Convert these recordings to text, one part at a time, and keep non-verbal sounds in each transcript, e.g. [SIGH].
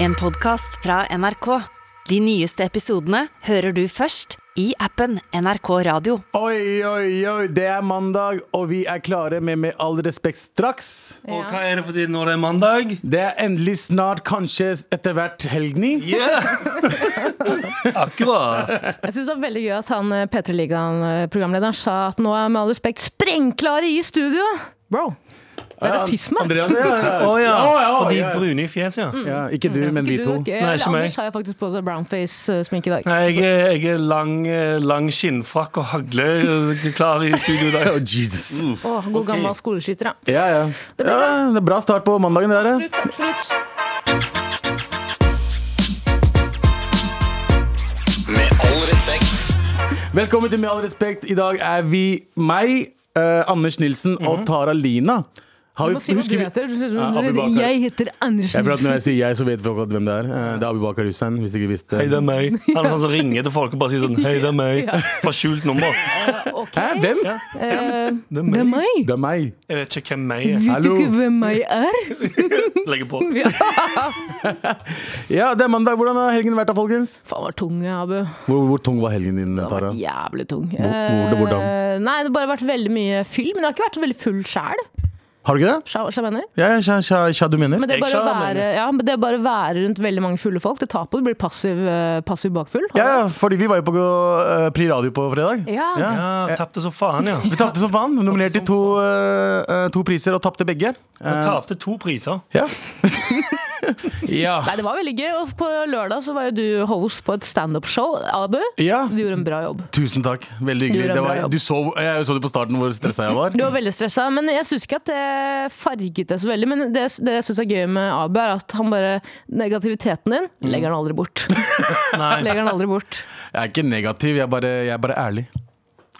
En podcast fra NRK. De nyeste episodene hører du først i appen NRK Radio. Oi, oi, oi, det er mandag, og vi er klare med Med all respekt straks. Og hva er det fordi nå er det mandag? Det er endelig snart, kanskje etter hvert helgni. [LAUGHS] Yeah! Akkurat. Jeg synes det var veldig gøy at han eh, P3 Ligaen-programlederen sa at nå er med all respekt sprengklare i studio. Bro, det er rasisme. Andreas, ja, ja, ja. Å ja, Å, ja, Mm. å, fordi ja. brune i fjes, ja. ja, ikke du, men vi Ikke du, to. ikke jeg. Nei, Eller ikke meg. Anders har jo faktisk på seg brownface-sminke i dag. Nei, jeg er, jeg er lang, eh, lang skinnfrakk og hagle eh, klar i studio i dag. [LAUGHS] Oh, Jesus. Mm. Åh, god gammel skoleskyter, ja. Ja, ja. ja. Det er bra start på mandagen, det der. Absolutt. Med all respekt. Velkommen til Med all respekt. I dag er vi meg, eh, Anders Nilsen Mhm. og Tara Lina. Har Du må si hva du vi- heter. Du sier Ja, Abu sånn, Bakar. Jeg heter Anders Jeg føler at Når jeg Nilsen. sier jeg, så vet folk godt hvem det er. Eh, Det er Abu Bakar Hussein, hvis du ikke visste. Hei, det er meg. Han er sånn som ringer til folk og bare sier sånn Hei, det er meg. Fra skjult nummer. Ok, Hæ, hvem? eh, meg. det er meg. Det er meg. Jeg vet ikke hvem meg er. Vet du Hallo. ikke hvem jeg er? Legger på. [LAUGHS] Ja. Ja, det er mandag. Hvordan har helgen vært da, folkens? Faen, var tung, Abu. Hvor, hvor tung var helgen din, Den har Tara? vært jævlig tung. hvor- hvordan? Eh, Nei, Det har bare vært veldig mye fyll, men jeg har ikke vært så veldig full sjæl. Har du ikke det? Skjønner du hva jeg mener? Ja, ja, kja, kja, kja, du mener? Men det Jeg er bare å skjønner, være, ja, men det er bare å være rundt veldig mange fulle folk. Det tar på, du blir passiv, eh, passiv bakfull. Ja, ja, fordi vi var jo på eh, Pri Radio på fredag. Ja. Ja, tapte så faen, ja. Vi tapte som faen. Nominert til to, eh, eh, to priser og tapte begge. Jeg Eh, tapte to priser. ja. ja. Nei, det var veldig gøy. Og på lørdag så var jo du host på et standup-show. Abu, ja. du gjorde en bra jobb. Tusen takk. Veldig Du gjorde hyggelig. en Det bra var, jobb. du så, jeg så det på starten hvor stressa jeg var. Du var veldig stressa, men jeg syns ikke at det farget det så veldig. Men det, det jeg syns er gøy med Abu, er at han bare Negativiteten din Mm. legger han aldri [LAUGHS] bort. Nei, legger han aldri bort. Jeg er ikke negativ, jeg er bare, jeg er bare ærlig.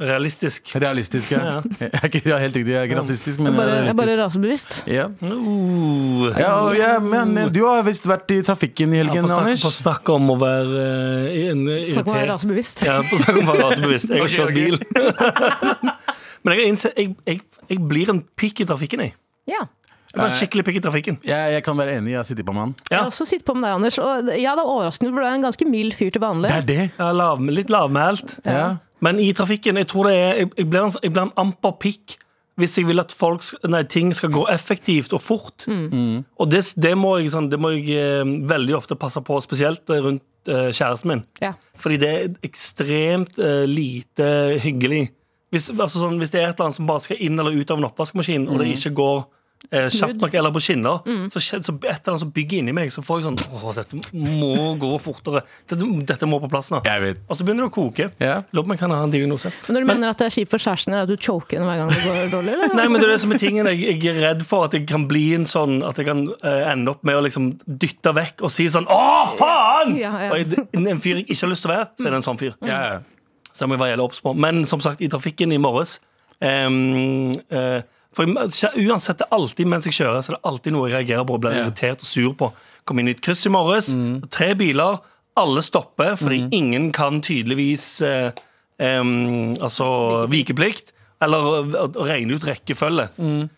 realistisk. Realistisk. Jeg, Ja. jeg er ikke, ja, helt riktig, jeg er ikke rasistisk, men jeg Bare, er jeg er bare realistisk. rasebevisst. Ja. Uh. Ja, og- ja, men eh, du har visst vært i trafikken i Ja, helgen, på, snakk, Anders? på snakk om å være eh, en, Snakk om å være irritert. rasebevisst. Ja, på snakk om å være rasebevisst. Jeg har Ok, kjørt ok. bil. [LAUGHS] Men jeg, har innsett, jeg, jeg, jeg blir en pikk i trafikken, jeg. Ja. Jeg Eh. blir en skikkelig pikk i trafikken. Jeg, jeg kan være enig, jeg sitter på mannen. Ja. Jeg har også sittet på med deg, Anders. Og ja, det er overraskende, for du er en ganske mild fyr til vanlig. Det er det. Jeg er lav, litt lavmælt. Ja. Men i trafikken jeg tror det er, jeg, jeg, blir en, jeg blir en amper pikk hvis jeg vil at folk, s- nei, ting skal gå effektivt og fort. Mm. Mm. Og det, s- det, må jeg, sånn, det må jeg eh, veldig ofte passe på, spesielt eh, rundt eh, kjæresten min. Ja. Fordi det er ekstremt eh, lite hyggelig. Hvis, altså sånn, hvis det er et eller annet som bare skal inn eller ut av en oppvaskmaskin, og Mm. det ikke går eh, kjapt nok eller på skinner, så, skje- så et eller annet som bygger inni meg, så får jeg sånn Åh, dette må gå fortere. Dette, dette må på plass nå. Jeg vet. Og så begynner det å koke. Ja. Lurer på om jeg kan ha en diagnose. Men når du mener at det er kjipt for kjæresten din, er det at du choker henne hver gang det [LAUGHS] går dårlig? Eller? Nei, men det er det som er tingen Jeg, jeg er redd for at jeg kan bli en sånn At jeg kan eh, ende opp med å liksom dytte vekk og si sånn Åh, faen! Ja, ja. Og jeg, en fyr jeg ikke har lyst til å være, så er det en sånn fyr. Ja, ja. Så jeg må være jævlig obs på. Men som sagt, i trafikken i morges ehm, eh, For jeg, uansett, det er alltid mens jeg kjører, så det er alltid noe jeg reagerer på og blir Ja. irritert og sur på. Kom inn i et kryss i morges, tre biler, alle stopper fordi ingen kan tydeligvis eh, ehm, Altså vikeplikt. Eller eh, regne ut rekkefølge. Mm.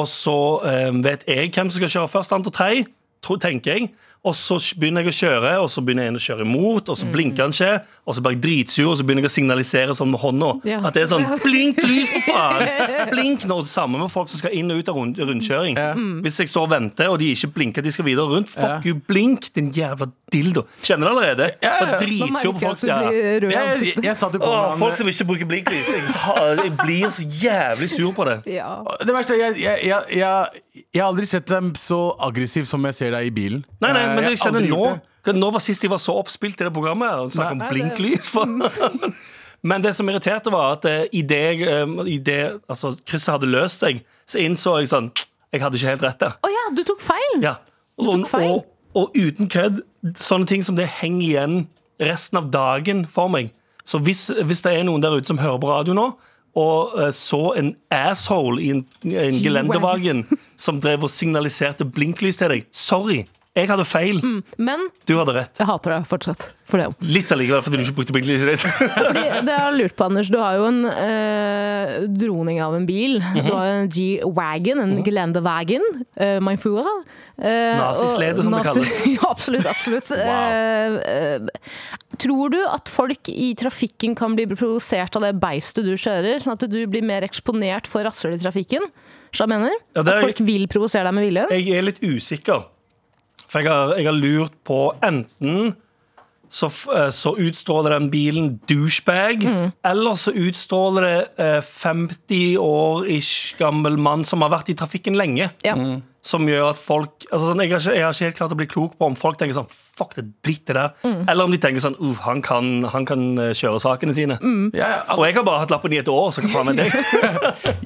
Og så eh, vet jeg hvem som skal kjøre først, andre og tre, tro- tenker jeg. Og så begynner jeg å kjøre, og så begynner en å kjøre imot, og så Mm. blinker han ikke. Og så blir jeg dritsur, og så begynner jeg å signalisere sånn med hånda. Ja. At det er sånn [LAUGHS] blink lys, for faen! Blink nå, det samme med folk som skal inn og ut av rund rundkjøring. Mm. Hvis jeg står og venter, og de ikke blinker, de skal videre rundt, fuck you, blink, din jævla dildo. Kjenner du allerede? Ja, ja. Jeg er Man dritsur på merker folk at som du gjør det. blir rød i Jeg, jeg, ansiktet. jeg satt jo på Åh, med folk han som ikke bruker blinklys. Jeg, har- jeg blir så jævlig sur på det. Ja. Det verste er, jeg, jeg, jeg, jeg, jeg har aldri sett dem så aggressiv som jeg ser deg i bilen. Nei, nei, men Eh, jeg kjenner aldri nå gjort det. Nå var sist jeg var så oppspilt i det programmet her, Og snakket om Nei, det- blinklys for. [LAUGHS] Men det som irriterte var at eh, i det, eh, i det altså, krysset hadde løst seg Så innså jeg sånn Jeg hadde ikke helt rett der Å ja, du tok feil! ja. og, tok feil. og, og uten kødd Sånne ting som det henger igjen Resten av dagen for meg Så hvis, hvis det er noen der ute som hører på radio nå og eh, så en [LAUGHS] asshole i en, en gelendervagen som drev og signaliserte blinklys til deg. Sorry, Jeg hadde feil, Men du hadde rett. jeg hater deg fortsatt for det. Litt allikevel, fordi du ikke brukte bilen din. Fordi det jeg har lurt på, Anders, du har jo en eh, droning av en bil. Du har en G-Wagon, Mhm. en Geländewagen, uh, Mainfura. eh, Nazislede, og som det nazi- kalles. [LAUGHS] ja, absolutt. absolutt. Eh, eh, tror du at folk i trafikken kan bli provosert av det beistet du kjører, sånn at du blir mer eksponert for rasshøl i trafikken? Så jeg mener? [LAUGHS] Ja, det er- Eh, At folk vil provosere deg med vilje? Jeg er litt usikker. For jeg har, jeg har lurt på enten så, f- eh, så utstråler den bilen douchebag, eller så utstråler det eh, 50 år ish gammel mann som har vært i trafikken lenge. Ja. Som gjør at folk altså sånn, jeg, har ikke, jeg har ikke helt klart å bli klok på om folk tenker sånn Fuck det drittet der. Eller om de tenker sånn Uff, han kan, han kan eh, kjøre sakene sine. Jeg, Og jeg har bare hatt lappen i et år, så hva faen er [LAUGHS] det? jeg,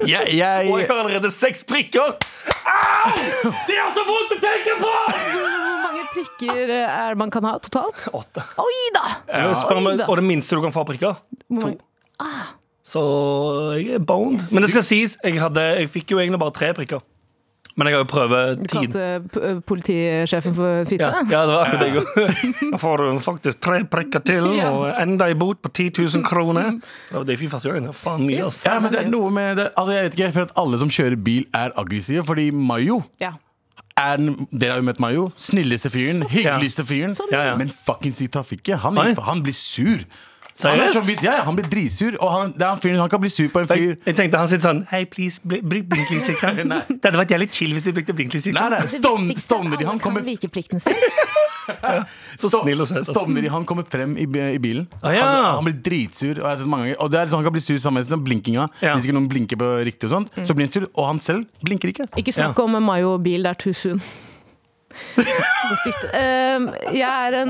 Og jeg jeg, har allerede seks prikker! Au! Det er så vondt å tenke på! Hvor mange prikker eh, er det man kan ha totalt? Åtte. Oi da! Jeg spør om, Oi da. og det minste du kan få av prikker. Hvor mange- Så jeg er boned. Men det skal sies, jeg, hadde, jeg fikk jo egentlig bare tre prikker. Men jeg har jo Du prøvetid. kalte p- eh, politisjefen for fitte? Ja, ja, det var akkurat det. jeg gjorde. Da får du faktisk tre prikker til Ja. og enda i bot på 10 000 kroner. Det var det jeg fikk første gangen. Det var Faen mye, altså. ja, men det er noe med det, altså Jeg vet ikke, jeg føler at alle som kjører bil, er aggressive. Fordi Mayo Ja. er den- Dere har jo møtt Mayo. Snilleste fyren. Hyggeligste fyren. Så Ja, ja. Men fuckings i trafikken. Han, Nei. er- han blir sur. Han, er Seriøst? så, vis- ja, ja, han blir dritsur. Og han, det er han, fyren, han kan bli sur på en fyr Jeg, jeg tenkte han sitter sånn Hei, please, bli- bruk blinklys, liksom. Det hadde vært jævlig chill hvis du brukte blinklys. Nei, Liksom. nei, stovn- Stovner de han kommer [LAUGHS] vikeplikten sin. Så Sto- snill og søt. altså. Stovner i han kommer frem i, bi- i bilen. Ah, ja. altså, han blir dritsur. Og jeg har sett mange ganger Og det er sånn, Han kan bli sur sammen med sånn blinkinga. Ja. Hvis ikke noen blinker på riktig, og sånt så blir han sur. Og han selv blinker ikke. Ikke snakk om Mayo-bil, det er too [LAUGHS] soon. Det er stygt. Ehm, jeg, er en,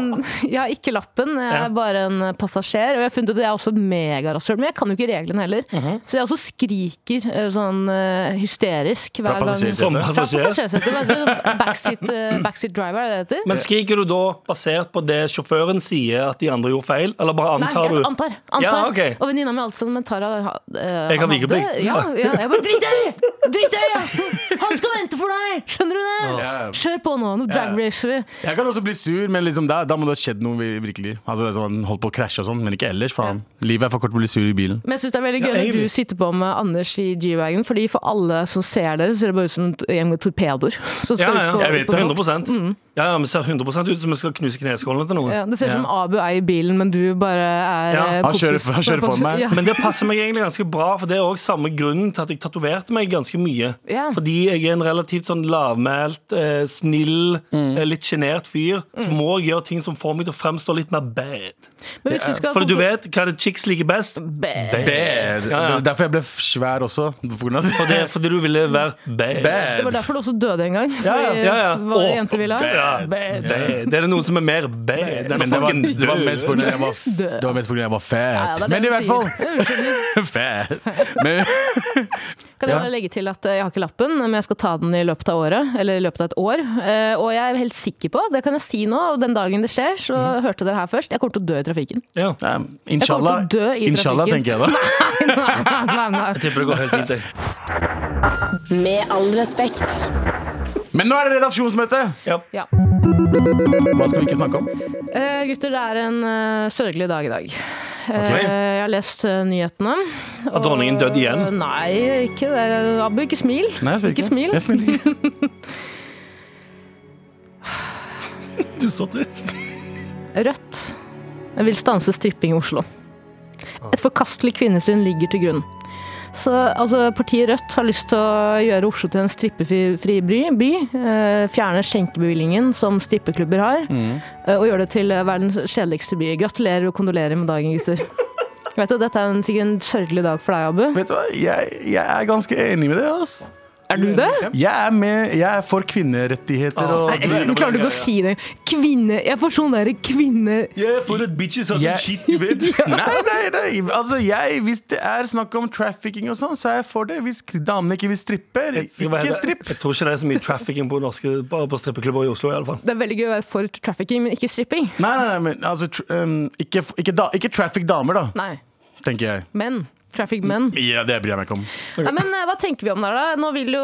jeg har ikke lappen, jeg Ja. er bare en passasjer. Og jeg har funnet ut at jeg er også megarasshøl, men jeg kan jo ikke reglene heller. Mhm. Så jeg også skriker eh, sånn eh, hysterisk hver gang. passasjersetet. Som Fra passasjer. passasjersetet. hva heter det? Backseat, eh, backseat driver, er det det heter? Men skriker du da basert på det sjåføren sier at de andre gjorde feil, eller bare antar Nei, du? jeg antar. antar. Ja, ok. Og venninna mi er alltid sånn, men Tara ha- eh, Jeg har han vikeplikt. hadde- Ja, ja, jeg bare Drit deg! i! Drit deg! i! Han skal vente for deg! Skjønner du det? Ja. Kjør på nå, nå drag racer vi. Jeg kan også bli sur, men liksom da, da må det ha skjedd noe vir- virkelig. Altså det er sånn, Han holdt på å krasje og sånn, men ikke ellers. faen Livet er for kort til å bli sur i bilen. Men jeg syns det er veldig gøy Ja, når egentlig. du sitter på med Anders i G-Wagon, fordi for alle som ser dere, ser det bare ut som en gjeng med torpedoer. [LAUGHS] som Ja, skal ja, ut på- jeg vet på det. tokt. 100 Ja, ja, Vi ser 100 ut som vi skal knuse kneskålene til noen. Ja, det [LAUGHS] ser ut som Abu er i bilen, men du bare er Ja. eh, Han kompis. kjører- han kjører foran meg. Ja. Men det passer meg egentlig ganske bra, for det er òg samme grunnen til at jeg tatoverte meg ganske mye. Ja. Fordi jeg er en relativt sånn lavmælt, eh, snill, Mm. eh, litt sjenert fyr, så Mm. må jeg gjøre ting som får meg til å fremstå litt mer bad. Men hvis du skal For du vet hva det chicks liker best. Bæ. Bad. Ja, ja. Det er Derfor jeg ble f- svær også. På grunn av det. For det er fordi du ville være bad. [LAUGHS] Det var Bad. derfor du også døde en gang. Fordi ja, ja, ja. hva Å, jenter ville ha. Bad. Bad. Bad. Det er det noen som er mer bad enn Men det var, å fucking det var dø. mest pga. jeg var, f- det var mest på grunn av jeg var Ja, fat. det er det Men i de hvert fall sier. Unnskyld. [LAUGHS] Fat. Men, um, Kan jeg bare legge til at eh, jeg har ikke lappen, men jeg skal ta den i løpet av året. Eller i løpet av et år. Eh, Og jeg er helt sikker på, det kan jeg si nå, og den dagen det skjer, så Mhm. hørte dere her først, jeg kommer til å dø i trafikken. Ja. ja, inshallah, Jeg kommer til å dø i inshallah, trafikken. tenker jeg da. [LAUGHS] Nei, nei, nei. Tipper det går helt fint. jeg. Med all respekt. Men nå er det redaksjonsmøte! Ja. Ja. Hva skal vi ikke snakke om? Eh, gutter, det er en eh, sørgelig dag i dag. Eh, Ok. jeg har lest eh, nyhetene. Eh, Har dronningen dødd igjen? Nei, ikke det. Abu, ikke smil. Nei, jeg smiler ikke smil. Jeg smiler [LAUGHS] ikke. Du er så trist. Rødt vil stanse stripping i Oslo. Et forkastelig kvinnesyn ligger til grunn. Så altså, Partiet Rødt har lyst til å gjøre Oslo til en strippefri by. by eh, fjerne skjenkebevillingen som strippeklubber har, eh, og gjøre det til eh, verdens kjedeligste by. Gratulerer og kondolerer med dagen, gutter. Jeg vet at Dette er en, sikkert en sørgelig dag for deg, Abu. Vet du hva, jeg, jeg er ganske enig med det. Ass. Er du det? Jeg er med, jeg er for kvinnerettigheter Ah, og nei, jeg- Klarer du ikke å si det? Kvinne Jeg får sånn derre kvinne... Jeg får et bitches en Jeg- shit i [LAUGHS] bed. Nei, nei, nei. Altså, jeg, hvis det er snakk om trafficking og sånn, så er jeg for det. Hvis damene ikke vil strippe, ikke stripp. Jeg tror ikke det er så mye trafficking på, norske, bare på strippeklubber i Oslo. i alle fall Det er veldig gøy å være for trafficking, men ikke stripping. Nei, nei, nei, men altså tr um, ikke, f- ikke, da, ikke traffic damer, da, Nei. tenker jeg. Men Traffic men. Ja, det bryr jeg meg ikke om. Nei, men eh, hva tenker vi om der, da? Nå vil jo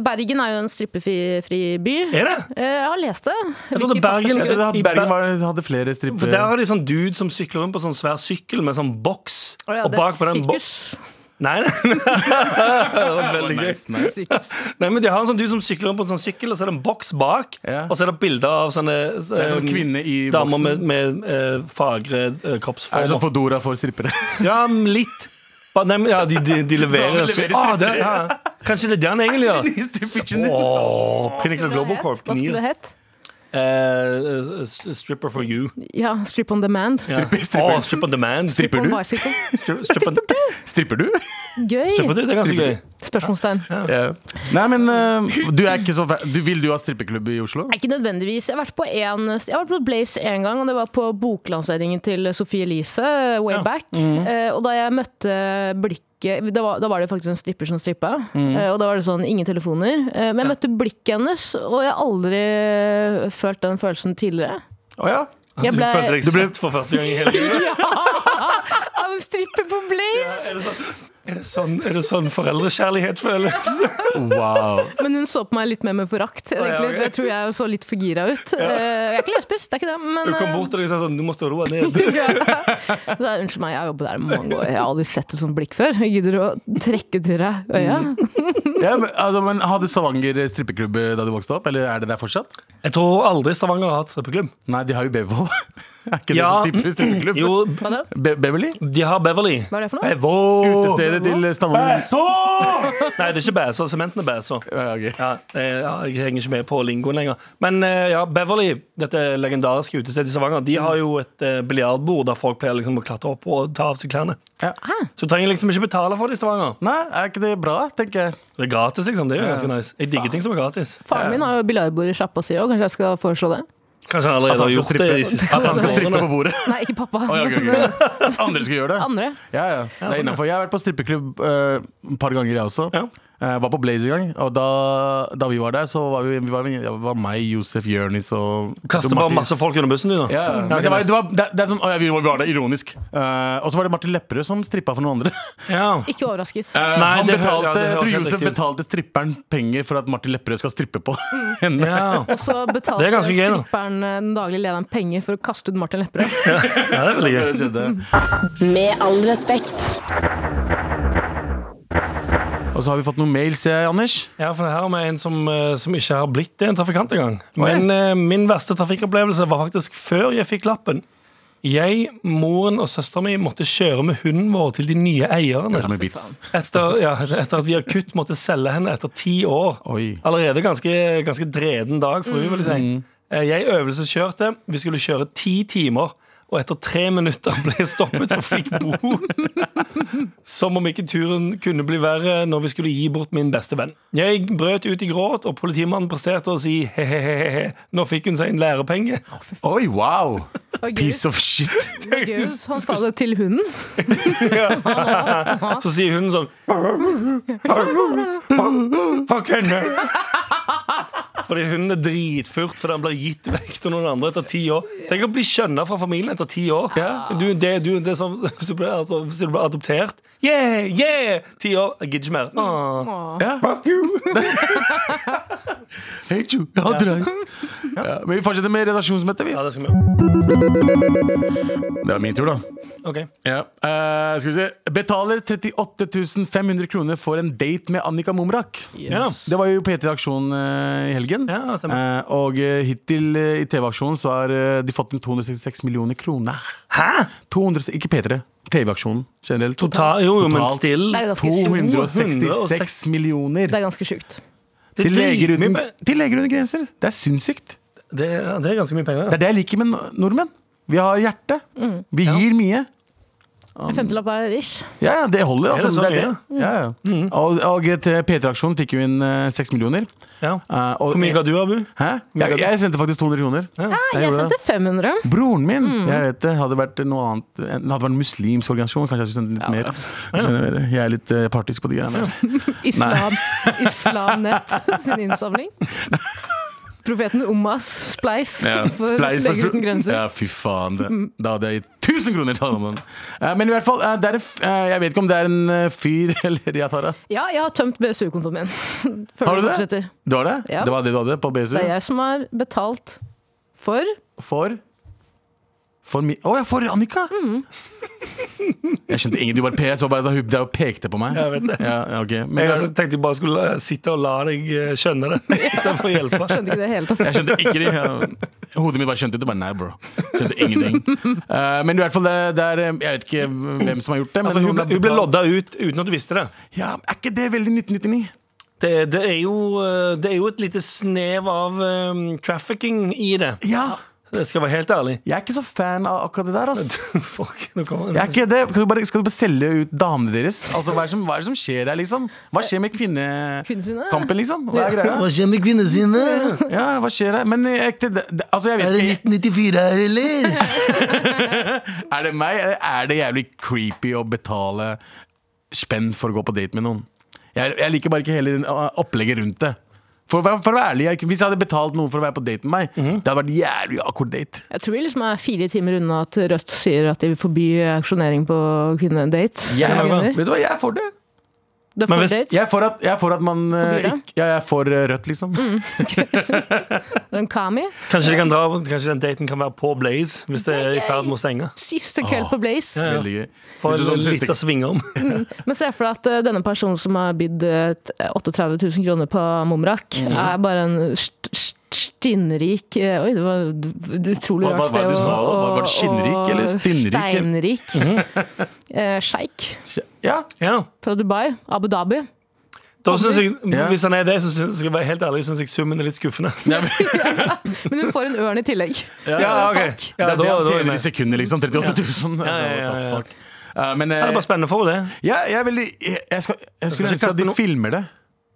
Bergen er jo en strippefri fri by. Er det? Eh, Jeg har lest det. Jeg Hvilke trodde Bergen- Jeg faktasjekker- trodde at I Bergen Ber- var, hadde flere For der stripper. har de sånn dude som sykler rundt på sånn svær sykkel med sånn boks. Å ja, og det er bak på den boks sirkus. Nei, [LAUGHS] nei. det var veldig gøy. Sirkus. Nei, men De har en sånn dude som sykler rundt på en sånn sykkel, og så er det en boks bak. Ja. Og så er det bilder av sånne Det er eh, sånn kvinne i damer boksen. med, med eh, fagre eh, Er det sånn kroppsformer. Fodora for strippere? Ja, men litt. Ba- Nei, men, ja, de, de, de leverer. Bare så- leverer Ah, det, ja. Kanskje det er det han [LAUGHS] egentlig gjør. nye strippersene. Åh, Pinnacle Hva Global Corp. skulle det hett? Eh, s- stripper for you. Ja, Strip on demand. Ja. stripper. Åh, strip on demand. Stripper På du? bicycle. Strip, strip on, Stripper du? strip on, Gøy! det er ganske gøy. Spørsmålstegn. Det Ja. Nei, men eh, du er ikke så fa- du, Vil du ha strippeklubb i Oslo? er ikke nødvendigvis. Jeg har vært på, en, jeg har vært på Blaze én gang, og det var på boklanseringen til Sophie Elise, way Ja. Mm. back. Eh, og da jeg møtte blikket da var, da var det faktisk en stripper som strippa. Mm. Eh, og da var det sånn ingen telefoner. Eh, men jeg møtte blikket hennes, og jeg har aldri eh, følt den følelsen tidligere. Å ja? Jeg Du ble, følte deg Du ble- sett for første gang i hele livet. av en stripper på Blaze! Er det sånn, er det sånn, er det sånn foreldrekjærlighet føles? Wow. Men hun så på meg litt mer med forakt. egentlig, ok. for Jeg tror jeg så litt for gira ut. Eh, jeg er ikke løsbiss, det er ikke det. Men, Du kom eh, bort til deg og sa sånn, du må stå og roe ned. [LAUGHS] Så jeg, Unnskyld meg, jeg har jobbet der i mange år. Jeg har aldri sett et sånt blikk før. Jeg gidder å trekke til deg øya. [LAUGHS] Ja, men, altså, men Hadde Stavanger strippeklubb eh, da du vokste opp, eller er det der fortsatt? Jeg tror aldri Stavanger har hatt strippeklubb. Nei, de har jo Bevo. [LAUGHS] er ikke Ja. det så typisk strippeklubb? Jo, Hva da? Be Beverly? de har Beverly. Hva er det for noe? Bevo! Utestedet til Stavanger. Nei, det er ikke Bæså. Sementen er Bæså. Ja, ok. Ja, eh, ja, jeg henger ikke med på lingoen lenger. Men eh, ja, Beverly, dette legendariske utestedet i Stavanger, de har jo et eh, biljardbord der folk pleier liksom å klatre opp og ta av seg klærne. Ja. Så du trenger liksom ikke betale for det i Stavanger. Nei, er ikke det bra, tenker jeg. Det er gratis, liksom. Det er jo ganske nice. Jeg digger ting som er gratis. Faren min har jo biljardbord i sjappa si òg, kanskje jeg skal foreslå det? Kanskje han At han allerede har skal gjort det strippe- i de siste At han skal strippe på bordet. Nei, ikke pappa. Å, ja, ok, ok. [LAUGHS] Andre skal gjøre det. Andre. sånn, Ja, ja. Det er innenfor. Jeg har vært på strippeklubb eh, et par ganger, jeg også. Ja. Jeg Eh, var på Blaze en gang, og da, da vi var der, så var vi, vi var, det var meg, Josef, Jørnis og Kaster bare masse folk under bussen, du, da. Ja, ja. Men det, var, det, var, det, det er som, å, ja, vi var- vi var der ironisk. Eh, og så var det Martin Lepperød som strippa for noen andre. Ja. Ikke [LAUGHS] overrasket. Eh, Nei, han det hø- betalte, ja, det jeg høres tror helt Josef riktig ut. betalte stripperen penger for at Martin Lepperød skal strippe på [LAUGHS] henne. Ja. Og så Det betalte er ganske gøy, da. stripperen eh, den daglige lederen penger for å kaste ut Martin Lepperød. [LAUGHS] ja, det er veldig gøy. [LAUGHS] Det skjedde. Med all respekt. Og så har vi fått noen mails, eh, Anders. Ja, for her har vi en som, eh, som ikke har blitt en trafikant engang. Men eh, min verste trafikkopplevelse var faktisk før jeg fikk lappen. Jeg, moren og søsteren min måtte kjøre med hunden vår til de nye eierne. Som en vits. Etter, ja, etter at vi akutt måtte selge henne etter ti år. Oi. Allerede ganske, ganske dreden dag for henne, vil jeg si. Eh, Jeg øvelseskjørte. Vi skulle kjøre ti timer. Og etter tre minutter ble jeg stoppet og fikk bot. Som om ikke turen kunne bli verre når vi skulle gi bort min beste venn. Jeg brøt ut i gråt, og politimannen presterte å si he-he-he. Nå fikk hun seg en lærepenge. Oi, wow! Og [LAUGHS] Gud, Piece of shit. og Gud, han sa det til hunden. Så sier hun sånn Fuck henne Fordi hunden er dritfurt Fordi han blir gitt vekk til noen andre etter ti år Tenk å bli skjønnet fra familien etter ti år du, det, du, det er sånn- Hvis du blir altså, hvis du blir adoptert Yeah, yeah, ti år Jeg gidder ikke mer Ah. Åh. Ja. Fuck you! Hate you. Jeg hater deg. Ja, men vi fortsetter med redaksjonsmøtet, vi. Ja, det skal vi gjøre Det var min tur, da. Ok Ja. eh, skal vi se. Betaler 38 500 kroner for en date med Annika Momrak. ja. Det var jo P3-aksjon eh, i helgen. Ja, stemmer. Eh, og eh, hittil eh, i TV-aksjonen så har eh, de fått inn 266 millioner kroner. Hæ? 200, ikke P3. TV-aksjonen generelt. Total, Tota- jo, jo, men Totalt still Det er ganske sjukt. 266 millioner Det er ganske sjukt. Det er til leger, dritmye uten, pe- til leger uten grenser. Det er sinnssykt. det, er- det er ganske mye penger Det er det jeg liker med no- nordmenn. Vi har hjerte. Mm. Vi gir mye. En femtelapp er ish. Ja, ja, det holder. Altså. det så Det er det. mye? Ja, ja. Mm. Og, og til P3-aksjonen fikk jo inn eh, 6 millioner. ja. Eh, og- Hvor mye ga du, Abu? Hæ? mye ga Jeg, du? jeg sendte faktisk 200 kroner. Nei, jeg gjorde sendte 500. Broren min! Mm. Jeg vet det. Hadde vært noe annet Det hadde vært en muslimsk organisasjon, kanskje jeg skulle sendt litt mer. altså. Skjønner dere? Jeg er litt eh, partisk på de greiene der. Islam, Islamnett sin innsamling. Profeten Omas Spleis [LAUGHS] for Spleis for- Leger uten grenser. Mm. Ja, fy faen. Det. Da hadde jeg gitt 1000 kroner til alle mann. Eh, Men i hvert fall, eh, det er en, f- eh, jeg vet ikke om det er en eh, fyr [LAUGHS] eller Ja, Tara. Ja, jeg har tømt BSU-kontoen min. [LAUGHS] Før Har vi du det? fortsetter. Du har det? Ja. Det var det du hadde på BSU? Det er jeg som har betalt for For For mi... Å ja, for Annika! [LAUGHS] jeg skjønte ingen. Du bare pe- jeg så bare at hun drev og pekte på meg. Jeg vet det. Ja, ja, ok. Men Jeg jeg, altså, tenkte jeg bare skulle eh, sitte og la deg eh, skjønne det, [LAUGHS] istedenfor å hjelpe. Skjønte ikke det i det hele tatt. [LAUGHS] jeg skjønte ikke det. Jeg- Hodet mitt bare skjønte det. Bare nei, bro. Skjønte ingenting. Eh, men i hvert fall, det, det er eh, Jeg vet ikke hvem som har gjort det. Men Altså, hun, noen ble, har hun ble betalt- lodda ut uten at du visste det. Ja, Er ikke det veldig 1999? Det, det, er, jo, eh, det er jo et lite snev av eh, trafficking i det. Ja! Jeg skal være helt ærlig. [LAUGHS] Jeg er ikke så fan av akkurat det der. ass Fuck, nå kommer jeg er det. ikke det. Skal, du bare, skal du bare selge ut damene deres? Altså, hva, er det som, hva er det som skjer der, liksom? Hva skjer med kvinnekampen, Kvinnesynet. liksom? Hva er greia? skjer med kvinnesynet? Ja, hva skjer her? Men eh, ekte, det, det, altså, jeg vet ikke 1994 her, eller? Er det meg, eller er det jævlig creepy å betale spenn for å gå på date med noen? Jeg, jeg liker bare ikke hele den, uh, opplegget rundt det. For, å være- for å være ærlig, jeg, Hvis jeg hadde betalt noen for å være på date med meg, det hadde vært jævlig akkurat date. Jeg tror vi liksom er fire timer unna at Rødt sier at de vil forby auksjonering på kvinnedate. Jeg, Ja, men- vet du hva, jeg er for det. Det er Men for hvis- date. Jeg er for at, jeg er for at man uh, Forbyr det? ikke, ja, Jeg er for uh, rødt, liksom. Det er en kami. [LAUGHS] Kanskje, de kan dra, kanskje den daten kan være på Blaze, hvis det er i ferd med å stenge. Siste kveld på Blaze. Ja, ja. Veldig gøy. For Hvis du sånn en siste- liten svingom. Men se for deg at eh, denne personen som har bydd eh, t- 38 000 kroner på Momrak, Mm. er bare en st st stinnrik eh, Oi, det var d- d- utrolig Hva- hva- hva rart sted. du sa? å- Var- var det å- skinnrik å- eller Mhm. stinnrik? Steinrik. [LAUGHS] Eh, Sjeik Ja. [LAUGHS] Ja. fra Dubai. Abu Dhabi. Da synes jeg, Ja. Hvis han er det, så synes jeg, skal jeg være helt ærlig, synes jeg summen er litt skuffende. Ja, [LAUGHS] men- Men hun får en ørn i tillegg. Ja, ok. det er det Ja, da- han da er jeg tjener i med. sekundet, liksom. 38 000. Ja, ja, ja, ja. What the fuck? Eh, men eh, Ja, Det er bare spennende for henne, det. ja, jeg er veldig Jeg, jeg, skal, jeg skulle ønske kanskje at kaste de noe- filmer det.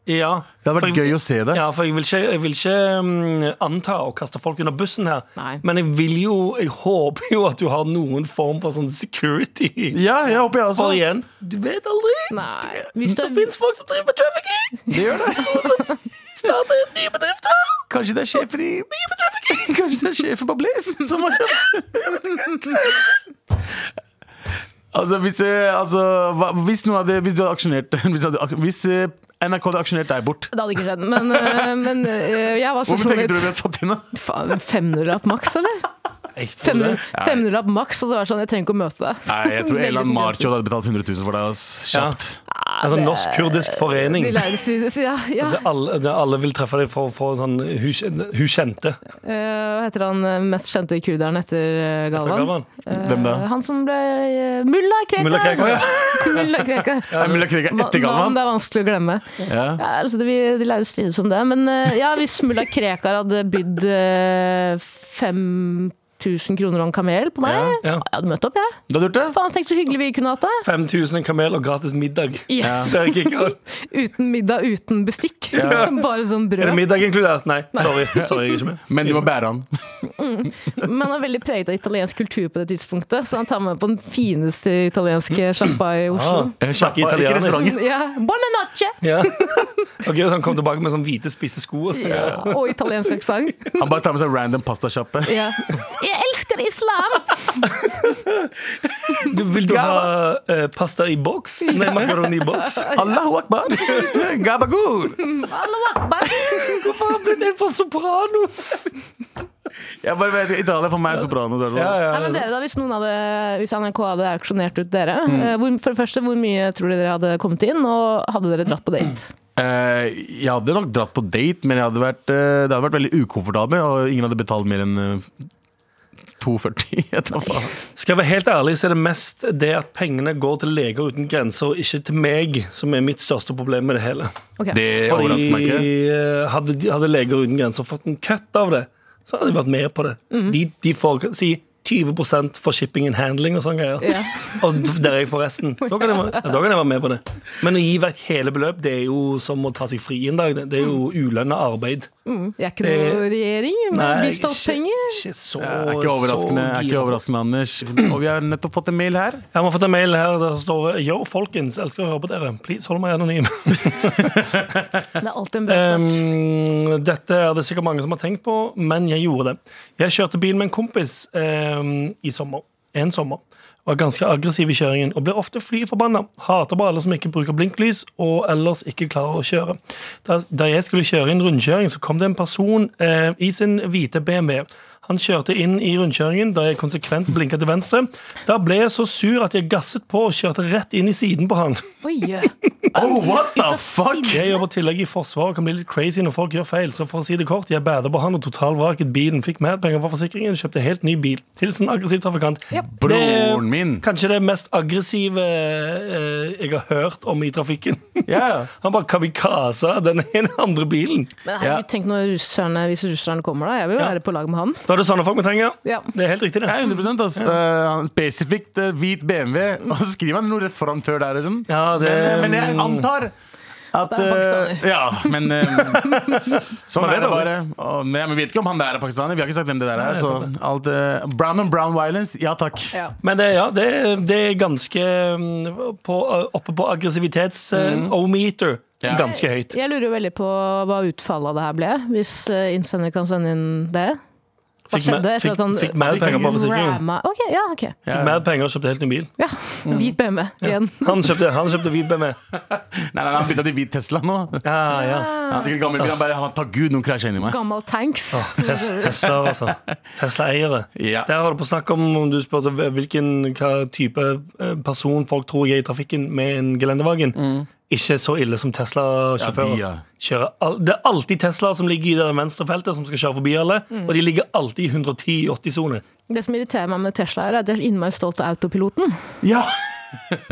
Ja. Det hadde For jeg- vært gøy å se det. Ja, for jeg vil ikke, jeg vil ikke mm, anta å kaste folk under bussen her. Nei. Men jeg vil jo, jeg håper jo at du har noen form for sånn security. Ja, jeg håper jeg også. For igjen, du vet aldri. Nei. Hvis Det du, fins folk som driver med trafficking! Det gjør det. [LAUGHS] Starter nye bedrifter! Kanskje det er sjefen i [LAUGHS] Kanskje det er sjefen på Blaze [LAUGHS] som har Altså, hvis, eh, altså hva, hvis, noen hadde, hvis du hadde aksjonert [LAUGHS] Hvis, du hadde, ak- hvis eh, NRK hadde aksjonert deg bort det hadde ikke skjedd. Men, eh, men eh, jeg var Hvor mye penger tror du vi spørsmålet hadde fått inn? da? Faen, 500 på maks, eller? 500, 500 på maks, og så var det sånn Jeg trenger ikke å møte deg. [LAUGHS] Nei, jeg tror Veldig Elan begrenset. Marchod hadde betalt 100 000 for deg. ass. Ja. Kjapt. Altså Norsk kurdisk forening. De lærde sier sier- ja. Det alle, det alle vil treffe deg for, for sånn Hun kjen- hun kjente. Eh, Hva heter han eh, mest kjente kurderen etter eh, Galvan? Galvan. Hvem da? Eh, Han som ble eh, Mulla Krekar! Mulla Krekar, ja. [LAUGHS] Mulla Krekar. Er Mulla Krekar Ma- etter navn Galvan? Det er vanskelig å glemme. Ja. Ja, altså, det, vi- de lærde strides om det. Men eh, ja, hvis Mulla Krekar hadde bydd eh, 5000 kroner og en kamel på meg, Ja, ja. jeg hadde møtt opp, jeg. Ja. Du hadde gjort det? Faen, tenk så hyggelig vi kunne hatt det. 5000 kamel og gratis middag. Yes. Ser jeg ikke godt. Uten middag, uten bestikk. [LAUGHS] Bare sånn Er brød. det middag inkludert? Nei, sorry. sorry jeg er ikke med. Men du må bære han. Men han er veldig preget av italiensk kultur på det tidspunktet, så han tar meg på den fineste italienske sjappa i Oslo. Ah, snakker Ikke italiensk. restauranten. Ja. Buona notte! Ja. [LAUGHS] Ok, så han kom tilbake med sånn hvite, spisse sko. Og sånn. Ja. Og italiensk aksent. Han bare tar med seg random pastasjappe. Ja. Jeg elsker islam! Du, vil du ha eh, pasta i boks? Nei, makaroni i [LAUGHS] boks? Allahu akbar! [LAUGHS] Gabagool! Allahu akbar! Hvorfor har han blitt en fra Sopranos? Jeg bare vet, Italia for meg er sånn. soprano. Der, Ja, Nei, men ja. dere da, hvis, noen hadde, hvis NRK hadde auksjonert ut dere, Mm. eh, hvor, for det første, hvor mye tror dere dere hadde kommet inn, og hadde dere dratt på Mm. date? Eh, jeg hadde nok dratt på date, men jeg hadde vært, eh, det hadde vært veldig ukomfortabel. Og ingen hadde betalt mer enn eh, 2,40. [LAUGHS] Jeg tar faen. Skal jeg være helt ærlig, så er det mest det at pengene går til Leger uten grenser, og ikke til meg, som er mitt største problem med det hele. Ok. Det overrasker meg Fordi ikke. eh, hadde, de- hadde Leger uten grenser fått en kutt av det, så hadde de vært med på det. De, de får si 20 for shipping and handling og sånne greier. Ja. Og der jeg får resten. Da kan jeg, være- ja, da kan jeg være med på det. Men å gi vekk hele beløp, det er jo som å ta seg fri en dag. Det- Det er jo ulønna arbeid. Vi Mm. er ikke noe Det- regjering med Nei, bistandspenger. [LAUGHS] Ikke så, Eh, Er ikke overraskende, er ikke overraskende Anders. Og vi har nettopp fått en mail her. Jeg må fått en mail her der det står Yo, folkens, elsker å høre på dere. Please, hold meg anonym. Det er alltid en bra start. Ehm, dette er det sikkert mange som har tenkt på, men jeg gjorde det. Jeg kjørte bil med en kompis ehm, i sommer. En sommer. Var ganske aggressiv i kjøringen og blir ofte fly forbanna. Hater bare alle som ikke bruker blinklys og ellers ikke klarer å kjøre. Da, da jeg skulle kjøre inn rundkjøring, så kom det en person eh, i sin hvite BMW. Han kjørte inn i rundkjøringen da jeg konsekvent blinka til venstre. Da ble jeg så sur at jeg gasset på og kjørte rett inn i siden på han. Oi, ja. Oh, what the fuck? Jeg jobber tillegg i Forsvaret og kan bli litt crazy når folk gjør feil, så for å si det kort, jeg bader på han og totalvraket bilen. Fikk mer penger fra forsikringen, kjøpte helt ny bil. Hilsen aggressiv trafikant. Broren min. Kanskje det mest aggressive eh, jeg har hørt om i trafikken. [LAUGHS] Ja. Han bare kamikaza den ene andre bilen. Men herregud, tenk når russerne, hvis russerne kommer, da. Jeg vil jo Ja. være på lag med han. Da er det sånne folk vi trenger. Ja. Det er helt riktig, det. Ja, 100 ass. Eh, han- spesifikt eh, hvit BMW. Og så skriver han noe rett foran før der, liksom. Ja, det- mm, men, men jeg antar at Det er pakistaner. eh, Ja, men eh, [LAUGHS] Sånn Man er vet det aldri. bare. Og, men jeg vet ikke om han der er pakistaner. Vi har ikke sagt hvem det der Nei, er. det er Så sant alt, eh, brown and brown violence, ja takk. Ja. Men det, ja, det, det er ganske mm, på, oppe på aggressivitets-o-meter. Mm. Ja. Ganske høyt. Jeg lurer jo veldig på hva utfallet av det her ble, hvis eh, innsender kan sende inn det. Hva Fikk mer- skjedde etter fikk- at han fikk mer penger på forsikringen. ramma- Ok, ja, ok. Ja. Mer penger og kjøpte helt ny bil. Ja, Hvit BMW igjen. Han kjøpte, han kjøpte hvit BMW. Nei, nei, nei, Han bytta til hvit Tesla nå. Ja, ja. Han er sikkert gammel. Han bare, han, takk gud, noen krasja inn i meg. Gammel tanks. Åh, Tes Tesla, altså. Tesla-eiere. Ja. Der har du på snakk om om du spurte hvilken hva type eh, person folk tror er i trafikken med en gelendervagen. Ikke så ille som Tesla-sjåfører. Mm. Ja, de, ja. Kjører al- Det er alltid Tesla som ligger i det venstre feltet, som skal kjøre forbi alle. Mm. Og de ligger alltid i 110 i 80-sone. Det som irriterer meg med Tesla, er at jeg er innmari stolt av autopiloten. Ja!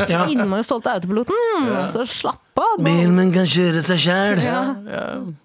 Ja. Innmari stolt av autopiloten! mm, Så slapp av. Bilen kan kjøre seg sjæl. Ja.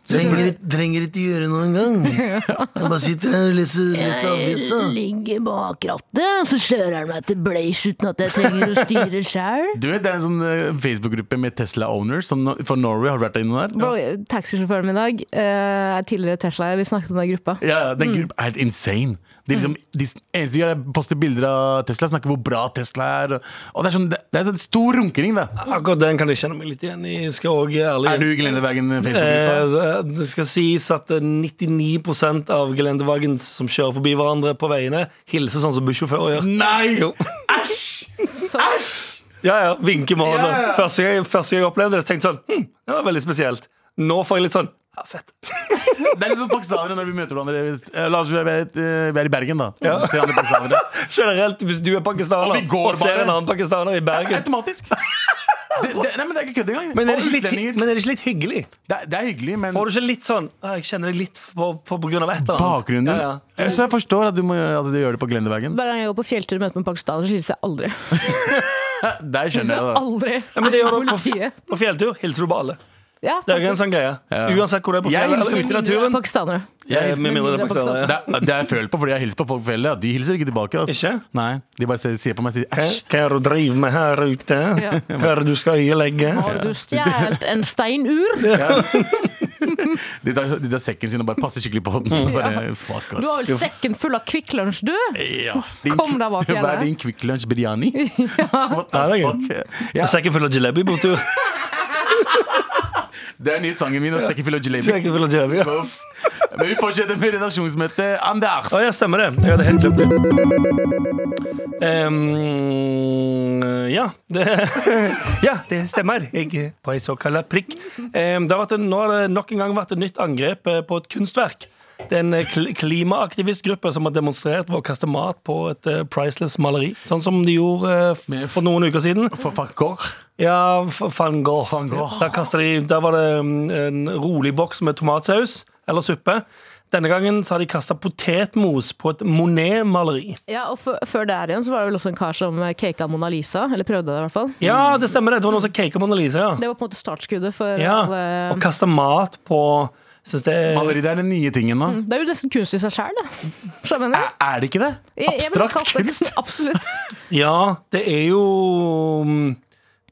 Trenger, ikke- trenger ikke gjøre noe engang. Jeg bare sitter her og leser, leser avisa. ligger bak rattet, så kjører han meg til Blaze uten at jeg trenger å styre sjæl. Du vet, Det er en sånn eh, Facebook-gruppe med Tesla-owners som no- for Norway. Har du vært inne der? Bro, taxisjåføren min i dag eh, er tidligere Tesla. Vi snakket om den gruppa. Ja, ja, Den gruppa er helt insane. De, liksom, de s- eneste de gjør, er å poste bilder av Tesla, snakke hvor bra Tesla er. Og, og det, er sånn, det, det er sånn stor runkering, da. Akkurat den kan jeg kjenne meg litt igjen i. Skal også ærlig Er du Glendebergen Facebook-gruppa? Eh, Det skal sies at eh, 99 av gelendervagens som kjører forbi hverandre på veiene, hilser sånn som bussjåfører gjør. Nei! Jo. Æsj! Så, Ja, ja, vinke med hånda. Ja, ja, ja. Første, gang- første gang jeg opplevde det, så tenkte jeg sånn hm, Det var veldig spesielt. Nå får jeg litt sånn ja, fett. Det er litt sånn pakistanere når vi møter hverandre. Hvis- eh, La oss si vi er, eh, vi er i Bergen, da. Så ser andre pakistanere. Generelt, hvis du er Og pakistaner vi går og ser bare. en annen pakistaner i Bergen Automatisk. Det, det, nei, men det er ikke kødd engang. men er, det Og ikke litt, hy- utlendinger. men er det ikke litt hyggelig? det, er- det er hyggelig, men Får du ikke litt sånn «Ah, Jeg kjenner deg litt på, på, på grunn av et eller annet. bakgrunnen din Ja, ja. Eh, Så jeg forstår at du, må, at du gjør det på Glendebergen. hver gang jeg går på fjelltur og møter med en pakistaner, så hilser jeg aldri. Der skjønner jeg det. Aldri. Ja, men det gjør du på, Politiet. på fjelltur. Hilser du på alle. Ja, Det er jo faktisk. en sånn greie. Uansett hvor du er på Jeg fjellet hilser eller ute i naturen. Pakistanere. Jeg, med mindre det er pakistanere. Det, er- det er jeg føler på fordi jeg hilser på folk på fjellet. og De hilser ikke tilbake. ass. Ikke? Nei, De bare ser, ser på meg og sier æsj. Hva er det du driver med her ute? Ja. Hva er det du skal øyelegge? Har du stjålet en [LAUGHS] steinur? Du De tar, de tar sekken sin og bare passer skikkelig på den. [LAUGHS] Og Bare, fuck ass har vel sekken full av Kvikk Lunsj, du? ja. Din- Kom deg bak fjellet. Hva er din Kvikk Lunsj biryani? [LAUGHS] What the Ja, det er gøy. fuck? Ja. Ja, Sekken full av jalebi på tur. det er nye sangen min. Og sekken full av jalebi. Sekken full av jalebi, ja. Uff. Men vi fortsetter med redaksjonsmøtet. Anders! Å ja, stemmer det. Jeg hadde helt glemt det. Ehm, ja, det [LAUGHS] ja, det stemmer. Jeg er på ei såkalla prikk. Ehm, det har vært en, nå har det nok en gang vært et nytt angrep eh, på et kunstverk. Det er en eh, kl- klimaaktivistgruppe som har demonstrert ved å kaste mat på et eh, priceless maleri. Sånn som de gjorde eh, f- for noen uker siden. For fuck off. Ja, f- van Gogh. Van Gogh. Der, kastet de, der var det mm, en rolig boks med tomatsaus eller suppe. Denne gangen så har de kasta potetmos på et Monet-maleri. Ja, og før- Før der igjen så var det vel også en kar som caka Mona Lisa. Eller prøvde det, i hvert fall. Mm. Ja, det stemmer, det. Det var noen som caka Mona Lisa. Det eh, var på en måte startskuddet for Ja. ja. alle Og kasta mat på Syns det er Maleri det er den nye tingen nå. Det er jo nesten kunst i seg sjæl, det. Skjønner du? Er, er det ikke det? Jeg- jeg ville [LAUGHS] Abstrakt kalt det- kunst? Absolutt. Ja, det er jo mm,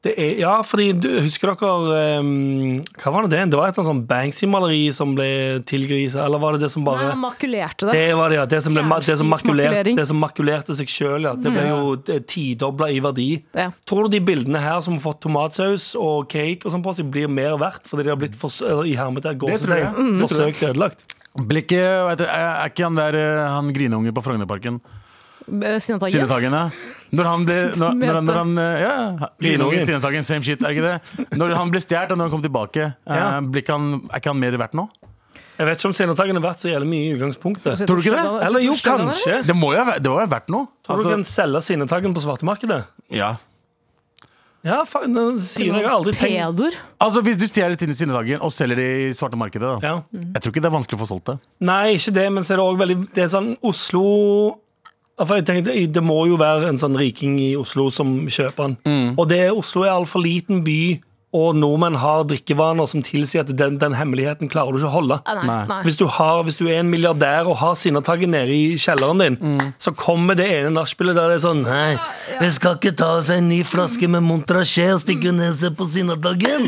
Det er, ja, fordi du, Husker dere ehm, Hva var det? Det Det var et eller annet sånn Banksy-maleri som ble tilgrisa, eller var det det som Nei, bare han makulerte det. det var det, ja. Det som, ble, ma- det som, makulerte, Fjernstyrt makulering. det som makulerte seg sjøl, ja. Det ble jo Mm. det- tidobla i verdi. Ja. Tror du de bildene her som har fått tomatsaus og cake og sånn på seg, blir mer verdt fordi de har blitt fors eller, i hermetegn Mm. tror jeg. gåsetegn forsøkt ødelagt? Blir ikke, vet du, er er ikke han der eh, han grineungen på Frognerparken? Eh, Sinnetagen. Sinnetagen, ja. Når han ble når, når, han- når han, eh, Ja, grineungen, Sinnetagen, same shit, er ikke det? Når han ble stjålet, og når han kom tilbake, eh, Ja. blir ikke han, er ikke han mer verdt nå? Jeg vet ikke om Sinnataggen har vært så jævlig mye i utgangspunktet. Tror du ikke det? Eller jo, kanskje. Det må jo ha vært- det må jo ha vært noe. Tror du Altså- kan selge Sinnataggen på svartemarkedet? ja. Ja, faen, nå sier jeg jeg har aldri tenkt Pedor. altså, hvis du stjeler til Sinnetagen og selger det i svarte markedet, da. ja. Jeg tror ikke det er vanskelig å få solgt det. Nei, ikke det, men så er det også veldig Det er sånn Oslo Ja, for jeg tenkte, Det må jo være en sånn riking i Oslo som kjøper den. Og det er Oslo er altfor liten by, og nordmenn har drikkevaner som tilsier at den, den hemmeligheten klarer du ikke å holde. Ah, Nei, Nei. nei. Hvis du, har, hvis du er en milliardær og har sinnataggen nede i kjelleren din, så kommer det ene nachspielet der det er sånn Nei, vi skal ikke ta oss en ny flaske med Montrachet og stikke neset på sinnadagen.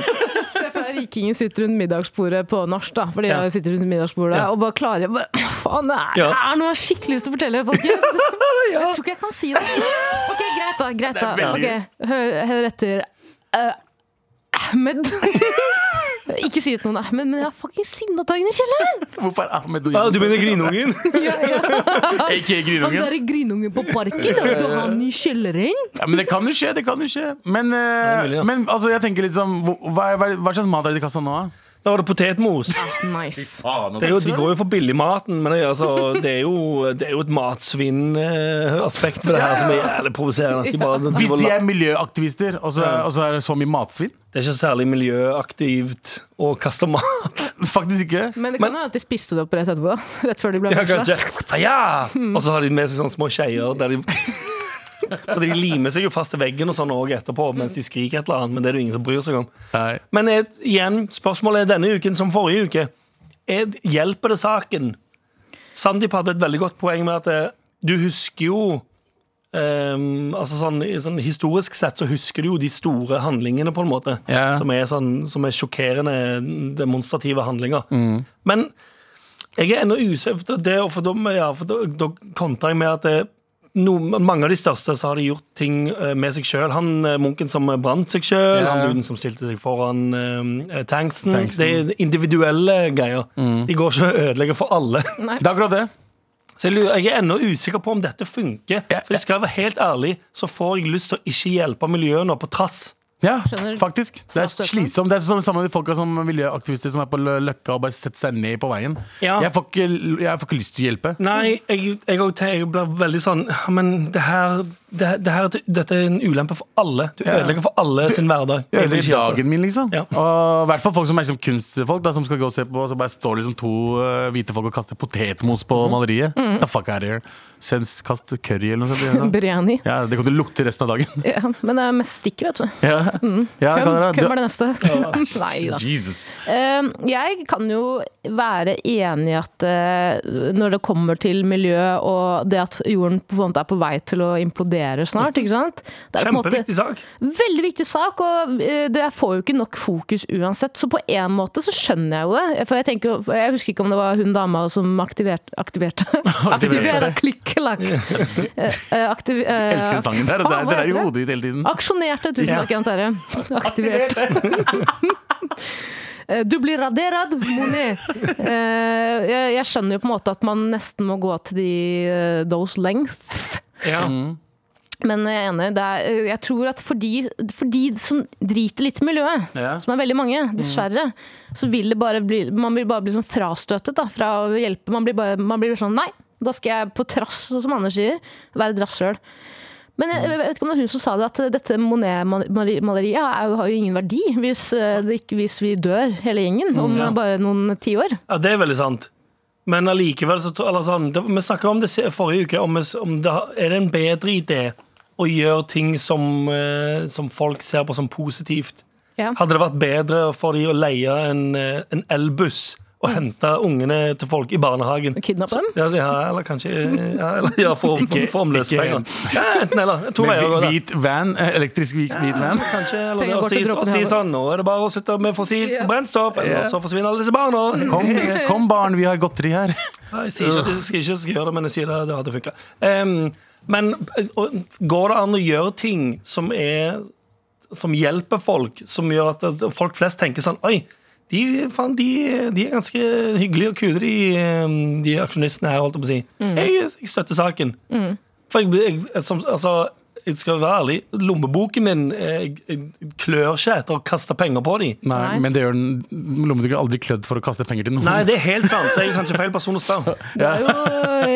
Se for deg rikingen sitter rundt middagsbordet på nach, da. For de Ja. sitter rundt middagsbordet Ja. og bare klarer bare, Faen, det er, Ja. det er noe jeg har skikkelig lyst til å fortelle, folkens! Jeg tror ikke jeg kan si det. Ok, greit, da. Greit, da. Ok, hør, hør etter. Eh, Ahmed. [LAUGHS] ikke si ut noen Ahmed, men jeg har fuckings sinnataggen i kjelleren! Hvorfor er Ahmed og Ja, Jonas- Ah, du mener grinungen? [LAUGHS] Ja, ja. Ikke Han grinungen? derre grinungen på parken, og du har han i kjelleren. Ja, men det kan jo skje, det kan jo skje. Men, eh, mulig, ja. men altså, jeg tenker liksom hvor- hva, er- hva, er- hva slags mat er det i kassa nå? da? Da var det potetmos. Nice. Det er jo, de går jo for billigmaten, men jeg- altså, det, er jo, det er jo et matsvinnaspekt ved det her som er jævlig provoserende. At de bare, de Hvis bare de er miljøaktivister, og så, Ja. og så er det så mye matsvinn? [LAUGHS] Det er ikke særlig miljøaktivt å kaste mat. Faktisk ikke. Men det kan hende at de spiste det opp rett etterpå. da. Rett før de ble [LAUGHS] Ja, kanskje. fengsla. Ja! Og så har de med seg sånne små skeier der de [LAUGHS] Fordi de limer seg jo fast til veggen og sånn også etterpå mens de skriker et eller annet. Men det er det jo ingen som bryr seg om. Nei. Men eh, igjen, spørsmålet er denne uken som forrige uke. Er, hjelper det saken? Sandeep hadde et veldig godt poeng med at eh, du husker jo ehm, altså sånn, i- sånn Historisk sett så husker du jo de store handlingene, på en måte. Ja. Som, er sånn, som er sjokkerende demonstrative handlinger. Men jeg er ennå usøft, det, og for da, ja, for da, da kontrer jeg med at det, no, mange av de største så har de gjort ting eh, med seg sjøl. Han eh, munken som brant seg sjøl, Ja. han duden som stilte seg foran eh, tanksen. Tanksen. Mm. Det er individuelle greier. De går ikke og ødelegger for alle. [LAUGHS] Det er akkurat det. Så jeg, lurer, jeg er ennå usikker på om dette funker. For skal jeg være helt ærlig, så får jeg lyst til å ikke hjelpe miljøet nå på trass. Ja, Skjønner. faktisk. Det er Forstøtende. slitsomt. Det er sånn samme med de folka som miljøaktivister som er på lø- løkka og bare setter seg ned på veien. Ja. Jeg, får ikke, jeg får ikke lyst til å hjelpe. Nei, jeg, jeg, og te- jeg blir veldig sånn «Ja, Men det her, det, her- det her, dette er en ulempe for alle. Du ødelegger for alle sin hverdag. Jeg vil Ødelegger ikke hjelpe det. dagen min, liksom. Ja. Og i hvert fall folk som er liksom kunstfolk, da, som skal gå og se på, og så bare står liksom to eh, hvite folk og kaster potetmos Mhm. på maleriet. The fuck out of here. Sens kast curry eller noe sånt. [LAUGHS] Biryani. Ja, det kommer til å lukte resten av [LAUGHS] dagen. Ja, men det er mest stikk, vet du. Ja. Mhm. Ja, Hvem, Kadra, hvem du- er det neste? Nei [LAUGHS] da. Jesus. Eh, Jeg kan jo være enig i at eh, når det kommer til miljø og det at jorden på en måte er på vei til å implodere snart, ikke sant? Det er på en måte Kjempeviktig sak. veldig viktig sak, og eh, det får jo ikke nok fokus uansett. Så på en måte så skjønner jeg jo det. For jeg, tenker, for jeg husker ikke om det var hun dama som aktiverte [LAUGHS] Aktiverte! [LAUGHS] aktiverte. Klikk-klakk! Aktiv, eh, Elsker den sangen der. og Det faen, er, hva det er i heter det? hodet ditt hele tiden. Aksjonerte, tusen takk, Jan Terje. Aktivert. Eh, [LAUGHS] Du blir raderad, Moni! Eh, Jeg jeg skjønner jo på en måte at man nesten må gå til de eh, those length. Mhm. Ja. Men jeg er enig. Det er, eh, jeg tror at for de, for de som driter litt i miljøet, Ja. som er veldig mange, dessverre, så vil det bare bli Man vil bare bli sånn frastøtet da, fra å hjelpe. Man blir, bare, man blir sånn Nei, da skal jeg på trass, sånn som Anders sier, være et rasshøl. Men jeg, jeg vet ikke om det var hun som sa det, at dette Monet-maleriet er jo- har jo ingen verdi hvis, eh, det ikke, hvis vi dør, hele gjengen, om ja. eh, bare noen tiår. Ja, det er veldig sant. Men allikevel så tror- eller sånn, det, Vi snakket om det se- forrige uke. Om, vi- om det, er det en bedre idé å gjøre ting som, eh, som folk ser på som positivt? Ja. Hadde det vært bedre for de å leie en, eh, en elbuss og hente ungene til folk i barnehagen. Kidnappe dem? Ja, så- ja, eller kanskje ja, eller, ja, for, Ikke- for om løsepenger. Ja, enten eller. To Med veier å gå. hvi- der. hvit van, eh, elektrisk hvit, hvit van. Kanskje, eller det, Penger og går til si, dråpen og i si havet. sånn Nå er det bare å slutte med fossilt Ja. brennstoff, eller så forsvinner alle disse barna. Kom, eh, kom barn, vi har godteri [LAUGHS] her. Ja, Jeg sier ikke at jeg skal, ikke skal gjøre det, men jeg sier det, det hadde funka. men eh, og, går det an å gjøre ting som, er, som hjelper folk, som gjør at at folk flest tenker sånn Oi, de, faen, de, de er ganske hyggelige og kule, de, eh, de aksjonistene her, holdt jeg på å si. Jeg, jeg støtter saken. For jeg, jeg, som, altså, jeg skal være ærlig, lommeboken min eh, jeg, jeg klør ikke etter å kaste penger på dem. Nei, Nei. men det gjør den lommeboka aldri klødd for å kaste penger til noen. Nei, det er helt sant. Jeg er kanskje feil person å spørre. Det er jo eh,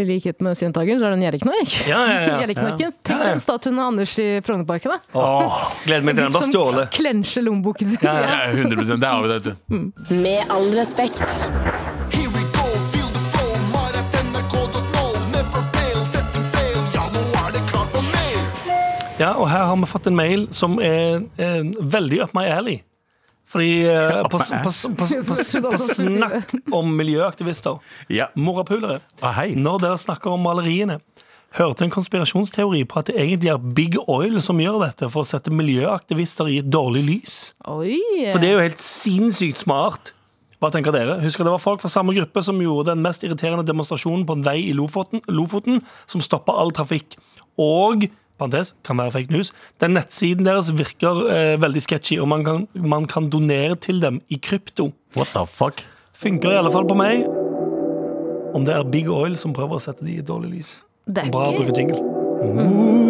i likhet med Synthagen, så er det en gjerriknark. Ja, ja, [LAUGHS] ja. Gjerriknarken. Tenk den statuen av Anders i Frognerparken, da. Åh, Gleder meg til den blir stjålet. klensjer lommeboken sin. Ja, [LAUGHS] ja, 100 Der har vi det. [LAUGHS] vet du. Med all respekt. Here we go, feel the flow, maratnrk.no. Never fail, setting sail. Ja, nå er det klart for mer. Ja, og her har vi fått en mail som er eh, veldig up my alley. Fordi eh, på, s- på, s- på, s- på, s- på snakk om miljøaktivister, Ja. morapulere, Ah, hei. når dere snakker om maleriene, hørte en konspirasjonsteori på at det egentlig er Big Oil som gjør dette for å sette miljøaktivister i et dårlig lys. Oi! For det er jo helt sinnssykt smart. Hva tenker dere? Husker det var folk fra samme gruppe som gjorde den mest irriterende demonstrasjonen på en vei i Lofoten, Lofoten som stoppa all trafikk. Og parentes, kan være fake news, den nettsiden deres virker eh, veldig sketchy, og man kan, man kan donere til dem i krypto. What the fuck? Funker i alle fall på meg. Om det er Big Oil som prøver å sette de i et dårlig lys. Det er Bra å ikke bruke jingle.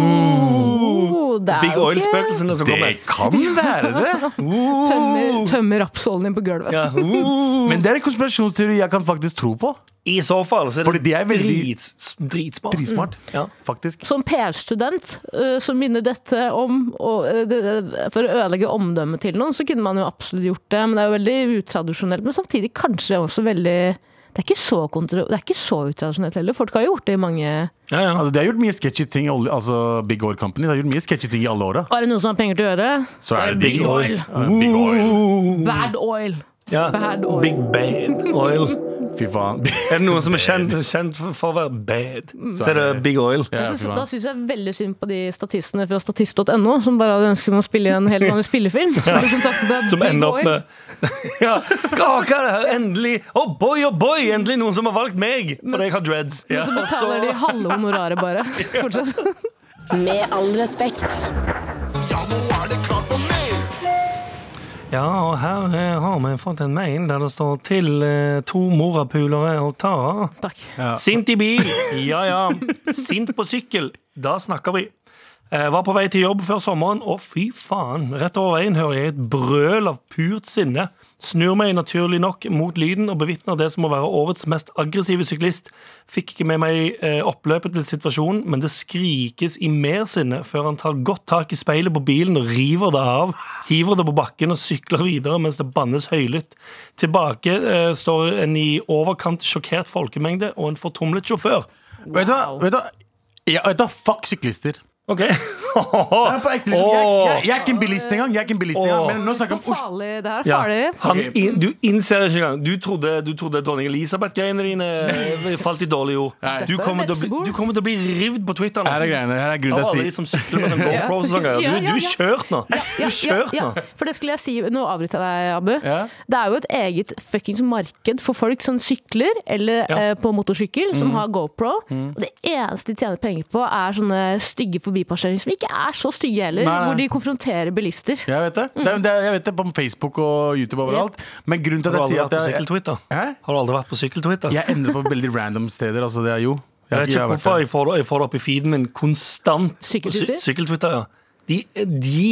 oh, det er Big jo ikke- Oil-spøkelsene som Det kommer. kan være det! [LAUGHS] Tømmer, tømmer rapsoljen din på gulvet. Ja, uh. Men det er en konspirasjonsteori jeg kan faktisk tro på. I så fall så er det Fordi de er veldig- drits, dritsmart. Dritsmart, Ja. faktisk. Som PR-student eh, så minner dette om og, eh, det, det- For å ødelegge omdømmet til noen, så kunne man jo absolutt gjort det. Men det er jo veldig utradisjonelt. Men samtidig kanskje også veldig Det er ikke så, kontro, det er ikke så utradisjonelt heller. Folk har gjort det i mange Ja, ja. Altså, de har gjort mye sketchy ting, i olje- altså Big Oil Company. De har gjort mye sketchy ting i alle åra. Er det noen som har penger til å gjøre? Så er det Big Oil. Ja, Big Oil. Bad oil! Mm. Ja. Bad oil. Big bad oil. Fy faen. [LAUGHS] [LAUGHS] Er det noen som er kjent, kjent for- for å være bad, Mm. så er det big oil. Ja, Jeg fy synes, da faen. syns jeg veldig synd på de statistene fra statist.no som bare hadde ønsket om å spille i en helt vanlig [LAUGHS] spillefilm. Så de kontaktet deg, Som Big ender opp Oil. med [LAUGHS] ja. Å, hva er det her? Endelig! Oh boy, oh boy! Endelig noen som har valgt meg! Fordi jeg har dreads. Ja. Men så betaler de halve honoraret [LAUGHS] bare. Fortsatt. Med all respekt. Ja, nå er det klart for mer. Ja, og her eh, har vi fått en mail der det står til eh, to morapulere og Tara. Takk. Sint i bil, ja ja. Sint på sykkel, da snakker vi. Eh, var på vei til jobb før sommeren, og fy faen. Rett over veien hører jeg et brøl av purt sinne. Snur meg naturlig nok mot lyden og bevitner det som må være årets mest aggressive syklist. Fikk ikke med meg eh, oppløpet til situasjonen, men det skrikes i mer sinne før han tar godt tak i speilet på bilen og river det av, hiver det på bakken og sykler videre mens det bannes høylytt. Tilbake eh, står en i overkant sjokkert folkemengde og en fortumlet sjåfør. Vet du hva? Vet du hva? Ja, vet du hva? Fuck syklister. Ok. [LAUGHS] Jeg er, på ekte, liksom. jeg, jeg, jeg er ikke en bilist engang. Jeg er ikke en bilist engang Åh. Men nå snakker jeg Hvor om Oslo. farlig det her er Ja, farlig. han, Ok. in, du innser ikke engang. Du trodde, du trodde dronning Elisabeth-greiene dine eh, falt i dårlig jord. Nei. Du kommer, til å bli, Vepsebol. du kommer til å bli rivd på Twitter nå. Her er greiene. Her er grunnen Av alle til de jeg sier som sykler med sånn GoPros og sånn greier. Du, du [LAUGHS] Ja, er ja, ja. kjørt nå. Du er kjørt nå. For det skulle jeg si, nå avbryter jeg deg, Abu. Ja. Det er jo et eget fuckings marked for folk som sykler, eller Ja. Mm. eh, på motorsykkel, som har GoPro. Og det eneste de tjener penger på, er sånne stygge forbipasseringer, som ikke er så stygge heller, Nei, nei. hvor de konfronterer bilister. Jeg vet det. Det, er- det er- jeg vet det på Facebook og YouTube overalt. Men grunnen til Har du at jeg aldri sier vært at på jeg, sykkel-Twitter? Hæ? Har du aldri vært på sykkel-Twitter? jeg ender på veldig random steder, altså det er jo Jeg vet ikke har vært hvorfor der. jeg får, det- jeg får det opp i feeden min konstant. Sykkel-Twitter? Sy- Sykkel-Twitter, ja. De, de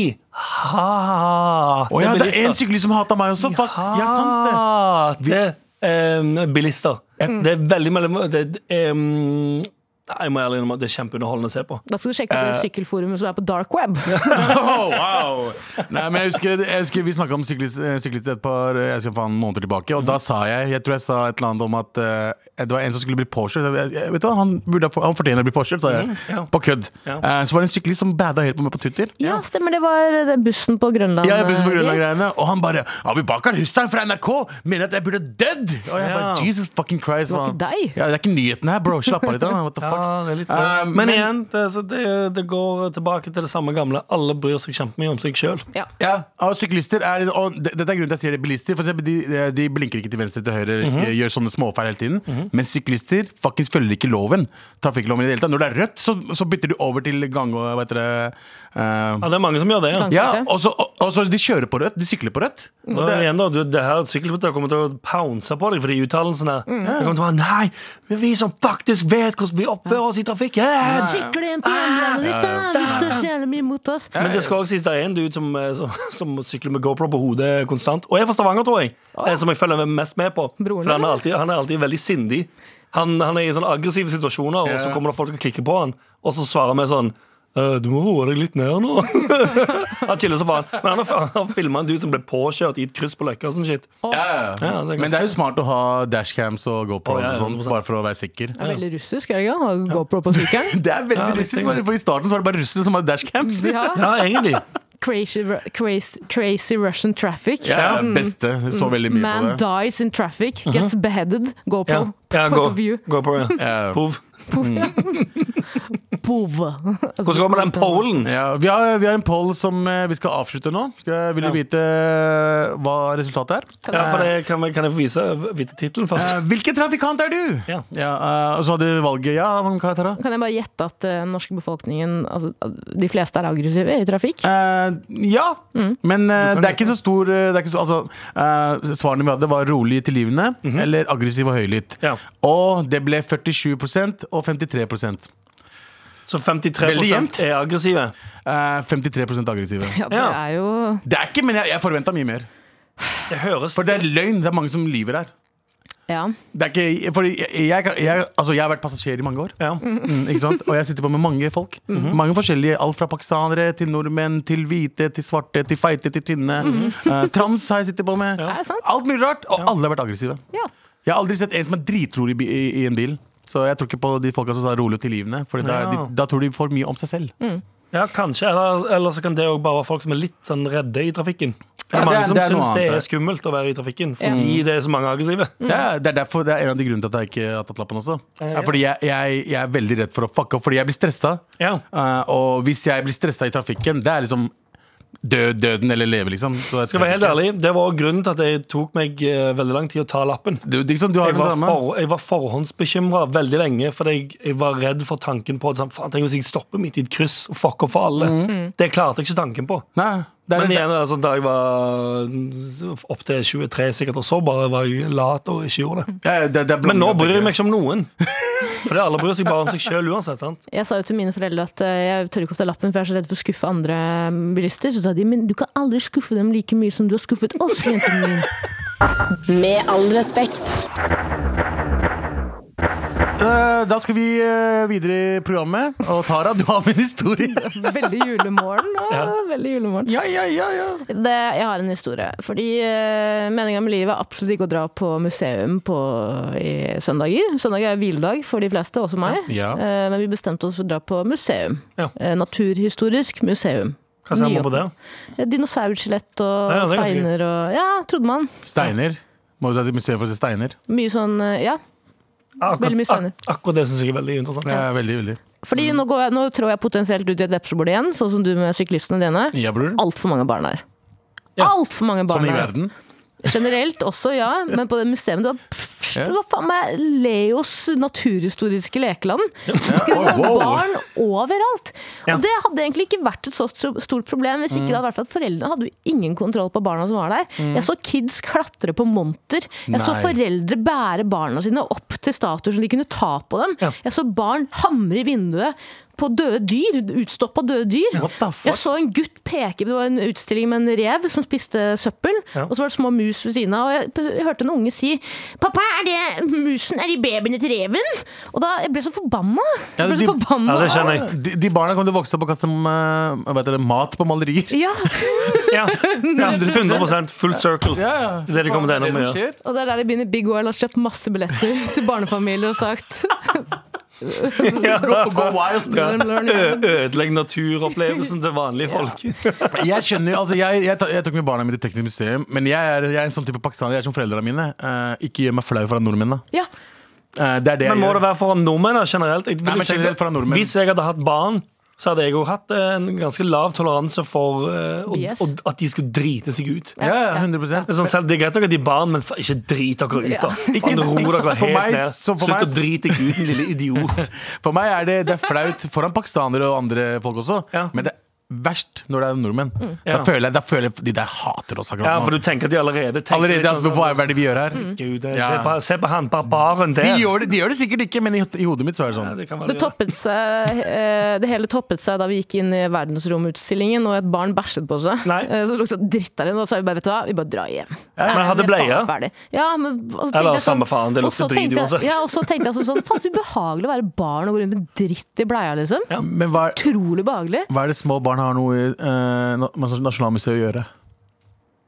hater Å ja, det er bilister. en syklist som hater meg også! Fuck! Ja, sant det. Ah, ehm, det. Det er eh, bilister. Det er veldig mellom det, er, eh, ehm, Nei, jeg må ærlig innrømme at Det er kjempeunderholdende å se på. Da skal du sjekke ut det sykkelforumet som er på dark web. Oh, [LAUGHS] [LAUGHS] wow. Nei, men jeg husker, jeg husker Vi snakka om syklist, eh, syklist et par eh, jeg skal faen, måneder tilbake, og da sa jeg Jeg tror jeg sa et eller annet om at eh, det var en som skulle bli påkjørt. Jeg- jeg- Vet du hva, Han, burde, ha få- han fortjener å bli påkjørt, sa jeg. ja. På kødd. Ja. Eh, så var det en syklist som bada helt på meg på Twitter. Ja, stemmer. Det var det bussen på Grønland. eh, Ja, jeg ble så på grunn av dit. greiene Og han bare Abubakar Hussein fra NRK mener at jeg burde dødd! Og jeg bare Ja. Jesus fucking Christ. hva- var ikke deg. Ja, det er ikke nyheten her, bro. Slapp av litt. da. What the fuck? Ja, det er litt, Eh, men, igjen, det, så det, det går tilbake til det samme gamle. Alle bryr seg kjempemye om seg sjøl. Ja. Ja, og syklister er, og det- Dette er grunnen til at jeg sier det. Bilister for eksempel, de, de blinker ikke til venstre til høyre, eh, gjør sånne småfeil hele tiden. Men syklister faktisk følger ikke loven. Trafikkloven i det hele tatt. Når det er rødt, så, så bytter de over til gang og hva heter det eh, Ja, det er mange som gjør det. Ja. Ja, Gang. og så, og, og så de kjører på rødt. De sykler på rødt. Og det, igjen da, du, det her Sykkelryttere kommer til å pounce på deg for de uttalelsene. Det kommer til å være, Nei, men vi som faktisk vet hvordan vi oppfører oss i trafikken! Sykle inn på hjemlandet ditt, da! Du står så jævlig mye mot oss. Men det skal også sies det er en dude som, eh, som, [LAUGHS] som sykler med GoPro på hodet konstant. Og jeg er fra Stavanger, tror jeg. eh, Som jeg følger mest med på. Broren For han er din? alltid, han er alltid veldig sindig. Han, han er i sånne aggressive situasjoner, og så kommer det folk og klikker på han. Og så svarer vi sånn «Eh, Du må roe deg litt ned nå. [LAUGHS] han chiller så faen. Men han har, han har filma en dude som ble påkjørt i et kryss på Løkka og sånn shit. Ja, Ja, altså, jeg kan Men det er jo smart å ha dashcams og GoPros Å, ja, og sånn, 100%. bare for å være sikker. Det er veldig russisk, er det ikke? Å gå på på sykkelen. [LAUGHS] Det er veldig Ja, russisk, riktig. bare- for i starten så var det bare russere som hadde dashcams. Ja. Ja, egentlig. Crazy, Ru- crazy, crazy Russian traffic. [LAUGHS] Ja, Mm. beste. Jeg Så veldig mye Man på det. dies in traffic, gets beheaded. Ja. GoPro. Ja, Point gå, of view. gå på det. [LAUGHS] Ja. Pov. Bove. Hvordan går det med den pollen? Ja, vi, har, vi har en poll som eh, vi skal avslutte nå. Skal, vil du Ja. vite eh, hva resultatet er? Ja, for det, kan, vi- kan jeg få vise vite tittelen først? Eh, hvilken trafikant er du? Ja. eh, og så hadde vi valget. Ja, hva kan jeg ta da? Kan jeg bare gjette at eh, den norske befolkningen altså, at De fleste er aggressive i trafikk? Eh, ja, men eh, det er ikke så stor eh, det er ikke så, altså, eh, Svarene vi hadde, var rolig tilgivende eller aggressiv og høylytt. Ja. Og det ble 47 og 53 Så Veldig 53 jevnt. er aggressive. Eh, 53 aggressive. Ja, det ja. er jo Det er ikke, men jeg, jeg forventa mye mer. Det høres For det er løgn. Det er mange som lyver her. Ja. Det er ikke, fordi jeg, jeg, kan- jeg, altså jeg har vært passasjer i mange år, Ja. mm, ikke sant? og jeg sitter på med mange folk. Mhm. Mange forskjellige, Alt fra pakistanere til nordmenn til hvite til svarte til feite til tynne. Mhm. Eh, trans har jeg sittet på med. Er det sant? Alt mulig rart. Og alle har vært aggressive. ja. Jeg har aldri sett en som er dritrolig i, bi- i, i en bil. Så jeg tror ikke på de folka som sa rolig og tilgivende. For da, er Ja. de, da tror de for mye om seg selv. Ja, kanskje. Eller, eller så kan det også bare være folk som er litt sånn redde i trafikken. Det Ja, er mange det er- som det er noe syns det annet, er det. skummelt å være i trafikken fordi det er så mange aggressive. Det, er, det er derfor det er en av de grunnene til at jeg ikke har tatt lappen også. ja. Er fordi jeg, jeg, jeg er veldig redd for å fucke opp, fordi jeg blir stressa. Ja. Eh, og hvis jeg blir stressa i trafikken, det er liksom død, døden eller leve, liksom. Så jeg Skal være helt tenker ikke- ærlig, Det var også grunnen til at det tok meg eh, veldig lang tid å ta lappen. Du, det er ikke sånn, du har Jeg jo var, det samme. for, jeg var forhåndsbekymra veldig lenge, fordi jeg, jeg var redd for tanken på at sånn, faen, tenk hvis jeg stopper midt i et kryss og fucker opp for alle. Mm. Det klarte jeg ikke tanken på. Nei, det er Men det- igjen, altså, da jeg var opptil 23 sikkert, og så bare var jeg lat og ikke gjorde det. Ja, det, det er Men nå blanding av bryr jeg begge. meg ikke om noen. Fordi alle bryr seg bare om seg sjøl uansett. sant? Jeg sa jo til mine foreldre at eh, jeg tør ikke å ta lappen, for jeg er så redd for å skuffe andre eh, bilister. Så sa de men du kan aldri skuffe dem like mye som du har skuffet oss, jenten min. Med all respekt. Eh, Da skal vi eh, videre i programmet. Og Tara, du har min historie. [LAUGHS] Veldig julemorgen. Å, [LAUGHS] Ja. Veldig julemorgen. ja, ja, ja, ja. Det, jeg har en historie. Fordi uh, meninga med livet er absolutt ikke å dra på museum på, i søndager. Søndag er jo hviledag for de fleste, også meg. Ja. Eh, men vi bestemte oss for å dra på museum. Ja. Eh, naturhistorisk museum. Hva ser man på det? Eh, Dinosaurskjelett og Ja, ja, det er ganske steiner og Ja, trodde man. Steiner. Må du dra til museet for å se steiner? Mye sånn eh, Ja. Veldig mye Akkurat, senere. ak akkurat det syns jeg er veldig interessant. Ja, veldig, veldig. Fordi Mm. nå, går jeg, nå trår jeg potensielt ut i et vepsebol igjen, sånn som du med syklistene dine. Ja, bror. Altfor mange barn her. Ja. Altfor mange barn Sånn i her. verden. [LAUGHS] Generelt også, ja. Men på det museet det var, pff, det var faen meg Leos naturhistoriske lekeland. [LAUGHS] Det var wow. barn overalt. Ja. Og det hadde egentlig ikke vært et så stro- stort problem hvis Mm. ikke det hadde vært for at foreldrene hadde jo ingen kontroll på barna som var der. Jeg så kids klatre på monter. Jeg så Nei. foreldre bære barna sine opp til statuer som de kunne ta på dem. Ja. Jeg så barn hamre i vinduet. på døde dyr. Utstoppa døde dyr. What the fuck? Jeg så en gutt peke Det var en utstilling med en rev som spiste søppel. Ja. Og så var det små mus ved siden av. Og jeg, jeg hørte en unge si 'Pappa, er det musen? Er de babyene til reven?' Og da jeg ble så forbanna. Ja, Jeg ble de- så forbanna. Ja, det skjønner jeg. Ah, De, de barna kommer til å vokse opp og kaste eh, hva heter det, mat på malerier. Ja, [LAUGHS] Ja, ja 100 full circle. [LAUGHS] Det er det kommer til å ende med å gjøre. og det er der jeg begynner Big OL har kjøpt masse billetter [LAUGHS] til barnefamilier og [LAUGHS] sagt Gå, gå wild. Ja. Ø- Ødelegg naturopplevelsen til vanlige folk. [LAUGHS] Jeg skjønner, jo- altså jeg, jeg, ta- jeg tok med barna mine til Teknisk museum, men jeg er, jeg er en sånn type pakistaner. Jeg er som foreldrene mine. Eh, ikke gjør meg flau foran nordmennene. Ja, Eh, det er det jeg Men må gjør. det være foran nordmenn da, generelt? Jeg, Nei, men tenke- generelt foran nordmenn. Hvis jeg hadde hatt barn, så hadde jeg jo hatt eh, en ganske lav toleranse for eh, og, Yes. og, at de skulle drite seg ut. Ja, ja, 100 Det er, sånn, selv, det er greit nok at de er barn, men fa- ikke drit dere ut, da. [LAUGHS] Faen, ro dere For helt meg- ned. så for Slutt meg- å drite deg ut, din lille idiot. [LAUGHS] For meg er det, det er flaut foran pakistanere og andre folk også, Ja. Mm. men det er verst når det er nordmenn. Da, Ja. føler jeg, da føler jeg de der hater oss akkurat Ja, nå. for du tenker at de allerede tenker litt Allerede at sånn- hva er det vi gjør her? Gud, eh, Ja. se, på, se på han barbaren De der. gjør, det, de gjør det sikkert ikke, men i, i hodet mitt så er det Ja, sånn. det kan være det, det. toppet seg, eh, det hele toppet seg da vi gikk inn i verdensromutstillingen og et barn bæsjet på seg. Nei. Eh, Så det lukta dritt der inne, og så er vi bare vet du hva, vi bare drar hjem. Men Vi hadde er bleie. faen ferdig. Ja, men, og så tenkte Eller jeg sånn- samme faen, det og lukter så drit tenkte jeg- uansett. Ja, og så tenkte jeg altså sånn, faen så ubehagelig å være barn og gå rundt med dritt i bleia, liksom. Men hva, er- Utrolig behagelig. hva er det små barn har noe i, eh, na- med Nasjonalmuseet å gjøre?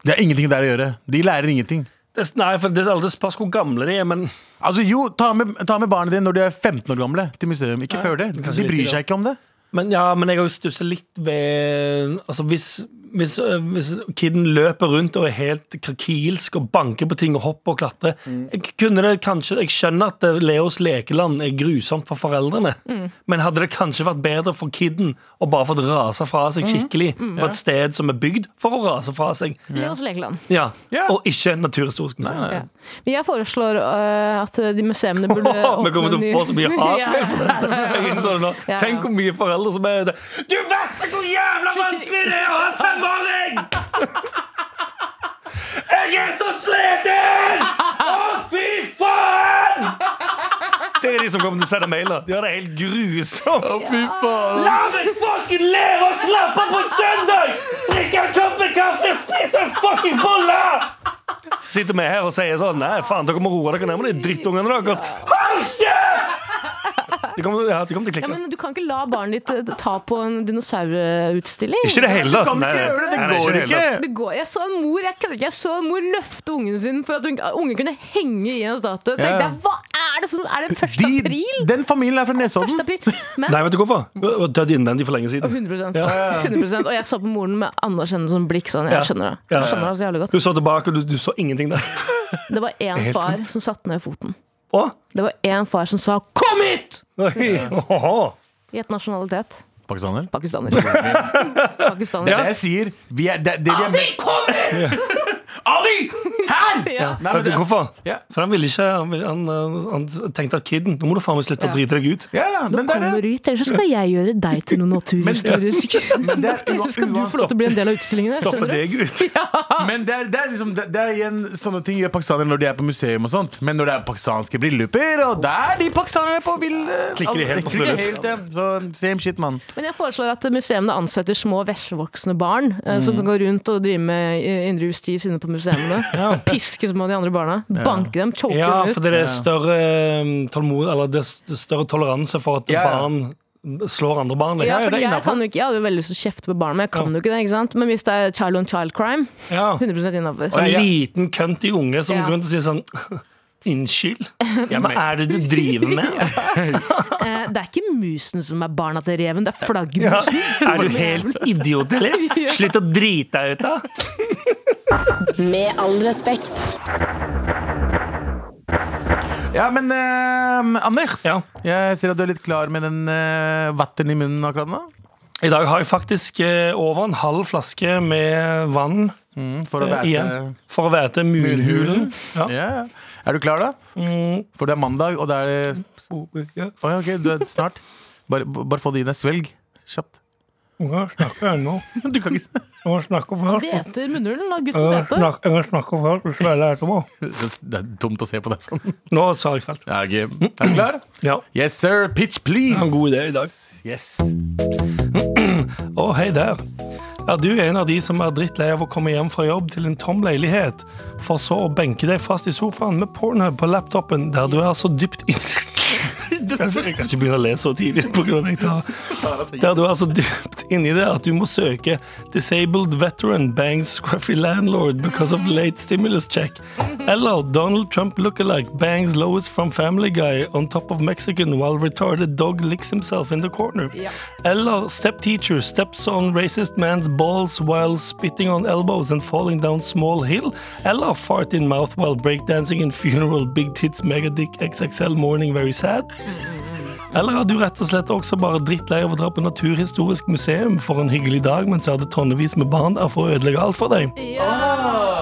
Det har ingenting der å gjøre. De lærer ingenting. Det- Nei, for det er aldri spørs hvor gamle de er, men Altså jo, ta med, ta med barna dine når de er 15 år gamle til museum. Ikke før det. kanskje De litt bryr i seg ikke om [LAUGHS] det. Men ja, men jeg har jo stusset litt ved Altså hvis, hvis, øh, hvis kiden løper rundt og er helt krakilsk og banker på ting og hopper og klatrer jeg, kunne det kanskje, jeg skjønner at øh, Leos lekeland er grusomt for foreldrene, men hadde det kanskje vært bedre for kiden å bare fått rase fra seg skikkelig på et sted som er bygd for å rase fra seg? Leos lekeland. Ja, Ja. Og ikke Naturhistorisk museum. Ja. Men jeg foreslår øh, at de museene [LAUGHS] burde Vi kommer til å åpne få så mye [LAUGHS] ny- hat Ja. for dette. Jeg innså det nå. Ja, ja. Tenk hvor mye foreldre som er det. Du vet ikke hvor jævla vanskelig det er å ha femåring! Jeg er så sliten! Å, fy faen! Det er de som kommer til å sende mailer. De har det helt grusomt. Fy faen. La meg fucking leve og slappe av på en søndag! Drikke en kopp med kaffe, spise en fucking bolle! Sitter vi her og sier sånn Nei, faen, dere må roe dere ned med de drittungene deres. Hold kjeft! De kommer, ja, de kommer til å Ja, klikke. men du kan ikke la barnet ditt eh, ta på en dinosaurutstilling. Ikke i det hele tatt. Kan du Nei, ikke nei. gjøre det? Nei, Det nei, går i det ikke. hele tatt. Det går, jeg så en mor jeg kødder ikke, jeg så en mor løfte ungen sin for at hun- at ungen kunne henge i en statue. Ja. Tenkte jeg, hva er det som Er det 1. De- april? Den familien er fra 1. Nesodden. april. Men sånn? Nei, vet du hvorfor? Hun var Dødd innvendig for lenge siden. 100, 100 Og jeg så på moren med anerkjennende som blikk. Sånn, Ja. jeg skjønner det. Ja, Jeg ja, ja. skjønner det så jævlig godt. Du så tilbake, og du, du så ingenting der. Det var én helt far som satte ned foten. Å? Det var én far som sa 'kom hit!' [LAUGHS] Oi. Åhå. Gjett nasjonalitet. Pakistaner. Pakistaner. Pakistaner. Det jeg sier vi er, det, det vi Ah, er mest- Ali! Her! Ja. Nei, men Vet du det- hvorfor? Ja. For han ville ikke Han, ville- han, øh, han tenkte at kiden Nå må du faen meg slutte å Ja. drite deg ut. Ja, ja, men det er Kommer det. ut, ellers så skal jeg gjøre deg til noe naturhistorisk. Men det er, Skal, skal du få lov til å bli en del av utstillingen? her, Stoppe skjønner du? deg ut. men det er, det er liksom det, det er igjen sånne ting gjør pakistanere når de er på museum og sånt. Men når det er pakistanske brilleluper, og der de pakistanerne på vil eh, Klikker de helt på klikker fløyet. helt, ja. Så same shit, mann. Men jeg foreslår at museene ansetter små veslevoksne barn eh, som kan gå rundt og drive med eh, indre justis inne på museene. Piske små de andre barna. Banke dem, choke Ja, dem for ut. det er større øh, tålmod Eller det er det er større toleranse for at Ja, ja. barn slår andre barn. Ja, Liksom. fordi jeg, innenfor. kan jo ikke, jeg hadde jo veldig lyst til å kjefte på barna, men jeg kan jo ikke det. ikke sant? Men hvis det er child on child crime, Ja. 100 innafor. Og en liten cunty unge som Ja. går rundt og sier sånn [LAUGHS] Unnskyld? [LAUGHS] Hva er det du driver med? Eh, det er ikke musen som er barna til reven, det er flaggermusen. [LAUGHS] Er du helt idiot, [LAUGHS] eller? Slutt å drite deg ut, da! Med all respekt. Ja, men eh, Anders, Ja. jeg ser at du er litt klar med den uh, vatten i munnen akkurat nå. I dag har jeg faktisk eh, over en halv flaske med vann Mm, For å eh, være igjen. For å være til mulhulen. Ja. Ja, ja. Er du klar, da? For det er mandag, og det er Ja. Å, ja, ok, du er snart. Bare, bare få det i deg. Svelg kjapt. Jeg snakker ennå. Du kan ikke Jeg snakker først. Det heter munnhulen, da. Gutten vet det. Jeg snakker først, hvis du er lært om [LAUGHS] Det er dumt å se på deg sånn. Nå sa jeg svært. Er du klar? Ja. Yes, sir. Pitch, En please. god idé i dag. Yes. [LAUGHS] Å, hei der. Er du en av de som er drittlei av å komme hjem fra jobb til en tom leilighet, for så å benke deg fast i sofaen med Pornhub på laptopen, der du er så dypt [LAUGHS] inn... Jeg kan ikke begynne å le så tidlig på grunn av at jeg tar. Der du er så dypt inni det at du må søke 'Disabled veteran bangs scruffy landlord because of late stimulus check', eller 'Donald Trump lookalike bangs Lois from Family Guy on top of Mexican while retarded dog licks himself in the corner', eller 'Stepteacher steps on racist man's balls while spitting on elbows and falling down small hill', eller 'Fart in mouth while breakdancing in funeral big tits megadick XXL morning very sad'. Eller er du rett og slett også bare drittlei av å dra på Naturhistorisk museum for en hyggelig dag, men så er det tonnevis med barn der for å ødelegge alt for deg?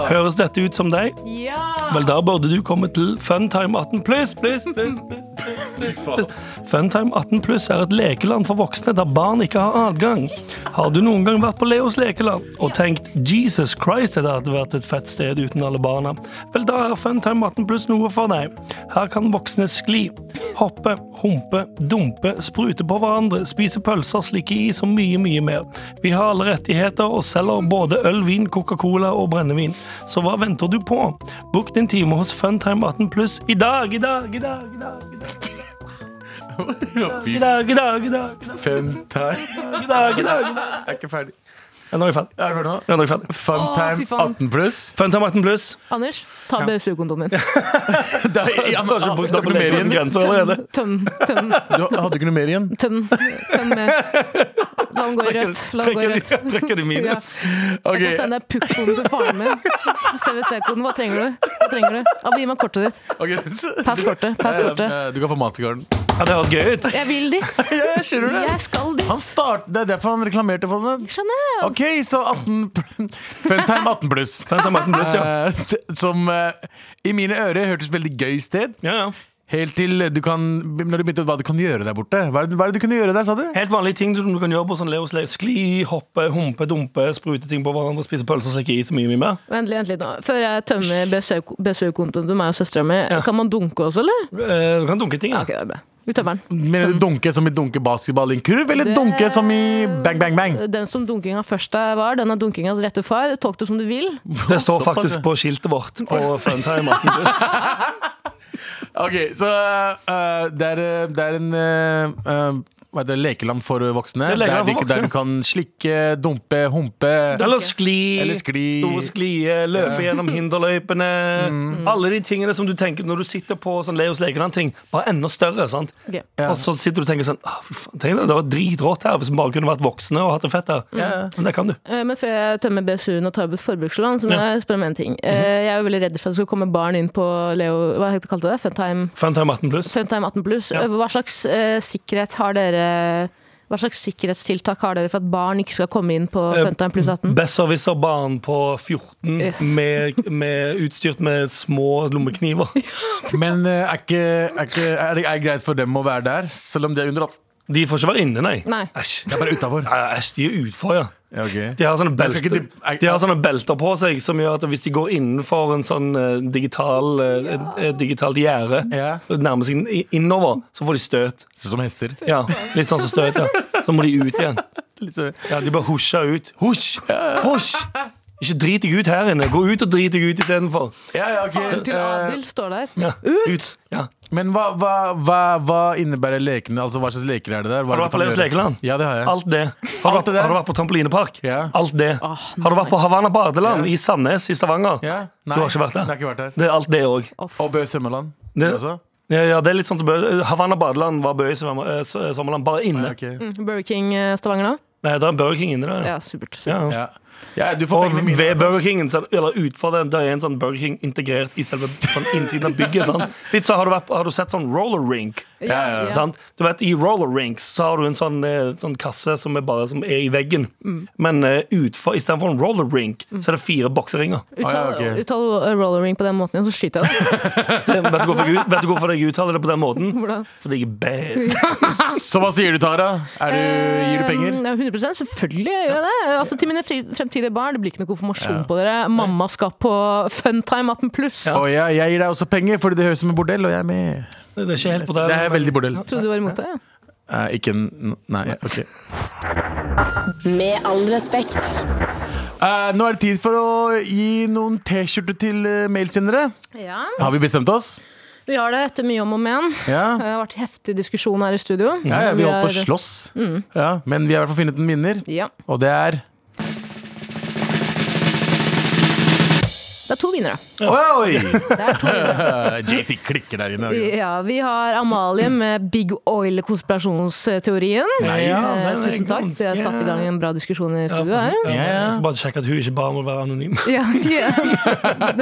Høres dette ut som deg? Vel, da burde du komme til Funtime 18 pluss. pluss, pluss, pluss, pluss, pluss, pluss. Funtime 18 pluss er et lekeland for voksne der barn ikke har adgang. Har du noen gang vært på Leos lekeland og tenkt 'Jesus Christ, dette hadde vært et fett sted uten alle barna'? Vel, da er Funtime 18 pluss noe for deg. Her kan voksne skli, hoppe, humpe, dumpe, sprute på hverandre, spise pølser, slikke is og mye, mye mer. Vi har alle rettigheter og selger både øl, vin, Coca-Cola og brennevin. Så hva venter du på? Book din time hos Funtime 18 pluss i dag, i dag, i dag, i dag, i dag, i Fy dag, i dag, i dag, i dag, fem tær. i dag, i dag, i dag. Jeg er ikke ferdig. Ja, nå er vi ferdig. Er du ferdig nå? Ja, nå er vi ferdig. Fun Å, fy time faen. 18 pluss. Funtime 18 pluss. Anders, ta BSU-kondomen din. [LAUGHS] Da, ja, men, Du har ikke brukt da opp blir det mer den igjen. grensen allerede. Tøm, tøm, Du hadde ikke noe mer igjen? tøm. tøm med. La den gå i rødt. La den gå i Trekker rødt. de- Trekker de minus? Ok, Jeg kan sende deg pukkkoden til faren min. CWC-koden. Hva trenger du? Hva trenger du? Ja, gi meg kortet ditt. ok, [LAUGHS] så- Pass kortet. Pass kortet. Eh, Du kan få mastercarden. Ja, det høres gøy ut. Jeg vil dit. Ja, skjønner du Jeg det? skal dit. Han start, det er derfor han reklamerte for det. Skjønner jeg. Ok, så [LAUGHS] 18 pl- Funtime 18 [LAUGHS] pluss. Funtime 18 pluss, ja. Eh, Som eh, i mine ører hørtes veldig gøy sted. ja, ja. Helt til du kan Når du begynte hva du kan gjøre der borte. Hva er det, hva er det du kunne gjøre der, sa du? Helt vanlige ting som du kan gjøre på sånn Leos Leos. Skli, hoppe, humpe, dumpe, sprute ting på hverandre, spise pølser, slikke is og mye, mye mer. Vent litt, vent litt nå. Før jeg tømmer BSU-kontoen til meg og søstera mi, kan man dunke også, eller? Eh, Du kan dunke ting, ja. Ok, det er bra. Vi tømmer den. Mener du dunke som i dunke basketball i en kurv, eller dunke som i bang, bang, bang? Eh, Den som dunkinga først er var, den er dunkingas rette far. Tolk det som du vil. Det står Såpass, faktisk ja. på skiltet vårt på [LAUGHS] Funtime 18 pluss. Ok, så eh, det, er, eh, det er en eh, eh, hva heter det, lekeland for voksne. Det er Det lekeland er for ikke der voksne. du kan slikke, dumpe, humpe. Eller skli. Eller skli. Store sklie, løpe gjennom hinderløypene. Mm. Alle de tingene som du tenker når du sitter på sånn Leos Lekeland-ting, bare enda større. sant? Ok. Og så sitter du og tenker sånn «Ah, fy faen, tenk deg, Det var dritrått her hvis vi bare kunne vært voksne og hatt det fett her. Men det kan du. Eh, Men før jeg tømmer BSU-en og tar opp et forbrukslån, så må jeg spørre om en ting. Mhm. Eh, Jeg er jo veldig redd for at det skal komme barn inn på Leo Hva het- kalte du det? Funtime, Funtime 18 pluss. Funtime 18 pluss. Ja. Eh, Hva slags eh, sikkerhet har dere Hva slags sikkerhetstiltak har dere for at barn ikke skal komme inn på Eh, Funtime pluss 18? Besserwisser-barn på 14 Yes. med, med, utstyrt med små lommekniver. Men eh, er, ikke, er, ikke, er det er det greit for dem å være der, selv om de er under 18? De får ikke være inne, nei. Nei. Æsj. Det er bare utafor. Ja, Æsj, de er utfor, [LAUGHS] ja. Ja, ok. De har, sånne Men skal belter, ikke de, de- er- har sånne belter på seg som gjør at hvis de går innenfor en sånn eh, digital eh, eh, digitalt gjerde, Ja. og nærmer seg i- innover, så får de støt. Sånn som hester. Ja, litt sånn som støt, ja. Så må de ut igjen. Litt sånn- så- Ja, De bare husja ut. [LAUGHS] Husj! Husj! Ikke drit deg ut her inne. Gå ut og drit deg ut istedenfor. Ja, ja, ok. Til Eh, Adil står der. Ja. Ut! Ja. men hva, hva, hva, hva innebærer lekene? Altså, Hva slags leker er det der? Hva Har du er det vært på kan Leos gjøre? Lekeland? Ja, det har jeg. Alt det. Har du, Alt det vært, der? har du vært på trampolinepark? Ja. Alt det. Ah, Har du vært på Havanna badeland i Sandnes i Stavanger? Ja? Nei, Du har ikke vært der? Jeg har ikke vært der. Det er alt det òg. Og Bø Sømmeland. Det- Det også? Ja, ja, det er litt sånn som Bø- Havanna badeland var Bø i sommer- eh, s- eh, sommerland, bare inne. [LAUGHS] Ok. Mm, Burger King eh, Stavanger nå? Nei, det er en Burger King inne der. Ja. Ja, supert. Ja. Ja. ja, du får Og pengene mine. ved Burger Kingen, så er det- eller utenfor den, der er en sånn Burger King integrert i selve sånn innsiden av [LAUGHS] bygget. sant? Litt så har du, vært, på- har du sett sånn roller rink. Ja, ja. Sant? Du vet, I roller rinks så har du en sånn, eh, sånn kasse som er, bare, som er i veggen. Mm. Men uh, utfor, istedenfor en roller rink, så er det fire bokseringer. Uttal, Ah, ja, ok. uttal eh, roller ring på den måten igjen, så skyter jeg [LAUGHS] deg. Det, vet, du hvorfor jeg, vet du hvorfor jeg uttaler det på den måten? Hvordan? Fordi jeg er bad. Så hva sier du, Tara? Er du, gir du penger? Eh, ja, 100 Selvfølgelig gjør jeg det. Altså, til mine fri- fremtidige barn. Det blir ikke noe konfirmasjon på dere. Mamma skal på Funtime 18 pluss. Og jeg, jeg gir deg også penger, fordi det høres ut som en bordell, og jeg er med. Det er ikke helt på Det er veldig bordell. Trodde du var imot det? Eh, ikke en Nei, ok. Med all respekt. Eh, nå er det tid for å gi noen T-skjorter til uh, mailsendere. Ja. Har vi bestemt oss? Vi har det etter mye om og men. Det Ja, har vært heftig diskusjon her i studio. ja, ja vi holdt på å er- Mm. slåss. Ja, men vi har i hvert fall funnet en vinner, Ja. og det er Det er to vinnere. Oi! Det er to vinnere. [LAUGHS] JT klikker der inne. Ja, vi har Amalie med Big Oil-konspirasjonsteorien. Ja, Eh, den er Tusen takk. Vi har ganske- satt i gang en bra diskusjon i studio her. Ja, Ja, ja. jeg skal bare sjekke at hun ikke bare må være anonym. [LAUGHS] Ja, ja.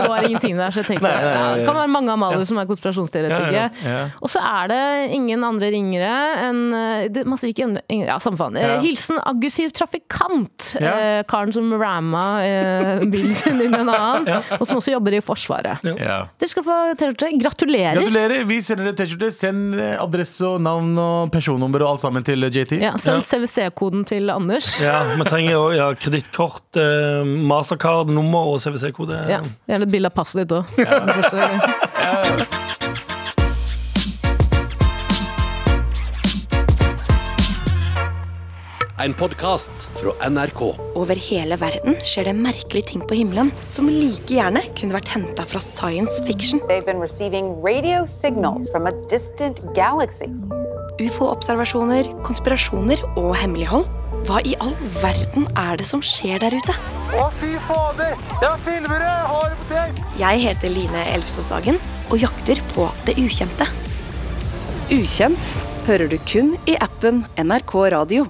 Det var ingenting der, så jeg tenkte ja, det kan være mange Amalie som er konspirasjonsteoretikere. Ja, Og så er det ingen andre ringere enn eh, det, Man sier ikke andre ingen- Ja, samme faen. Eh, Ja. Hilsen aggressiv trafikant. Ja. Eh, karen som ramma eh, bilen sin inn i en annen, og som også jobber i Forsvaret. Ja. Dere skal få T-skjorte. Gratulerer! Gratulerer. Vi sender deg T-skjorte. Send eh, adresse og navn og personnummer og alt sammen til eh, JT. Ja, send CWC-koden til Anders. Ja, [LAUGHS] Vi trenger også ja, kredittkort, eh, mastercard, nummer og CWC-kode. Ja, Gjerne et bilde av passet ditt òg. En podcast fra NRK. Over hele verden skjer det merkelige ting på himmelen som like gjerne kunne vært henta fra science fiction. They've been receiving radio signals from a distant galaxy. Ufo-observasjoner, konspirasjoner og hemmelighold. Hva i all verden er det som skjer der ute? Å, fy fader! Jeg filmer det! Har det på tape! Jeg heter Line Elfsås Hagen og jakter på det ukjente. Ukjent hører du kun i appen NRK Radio.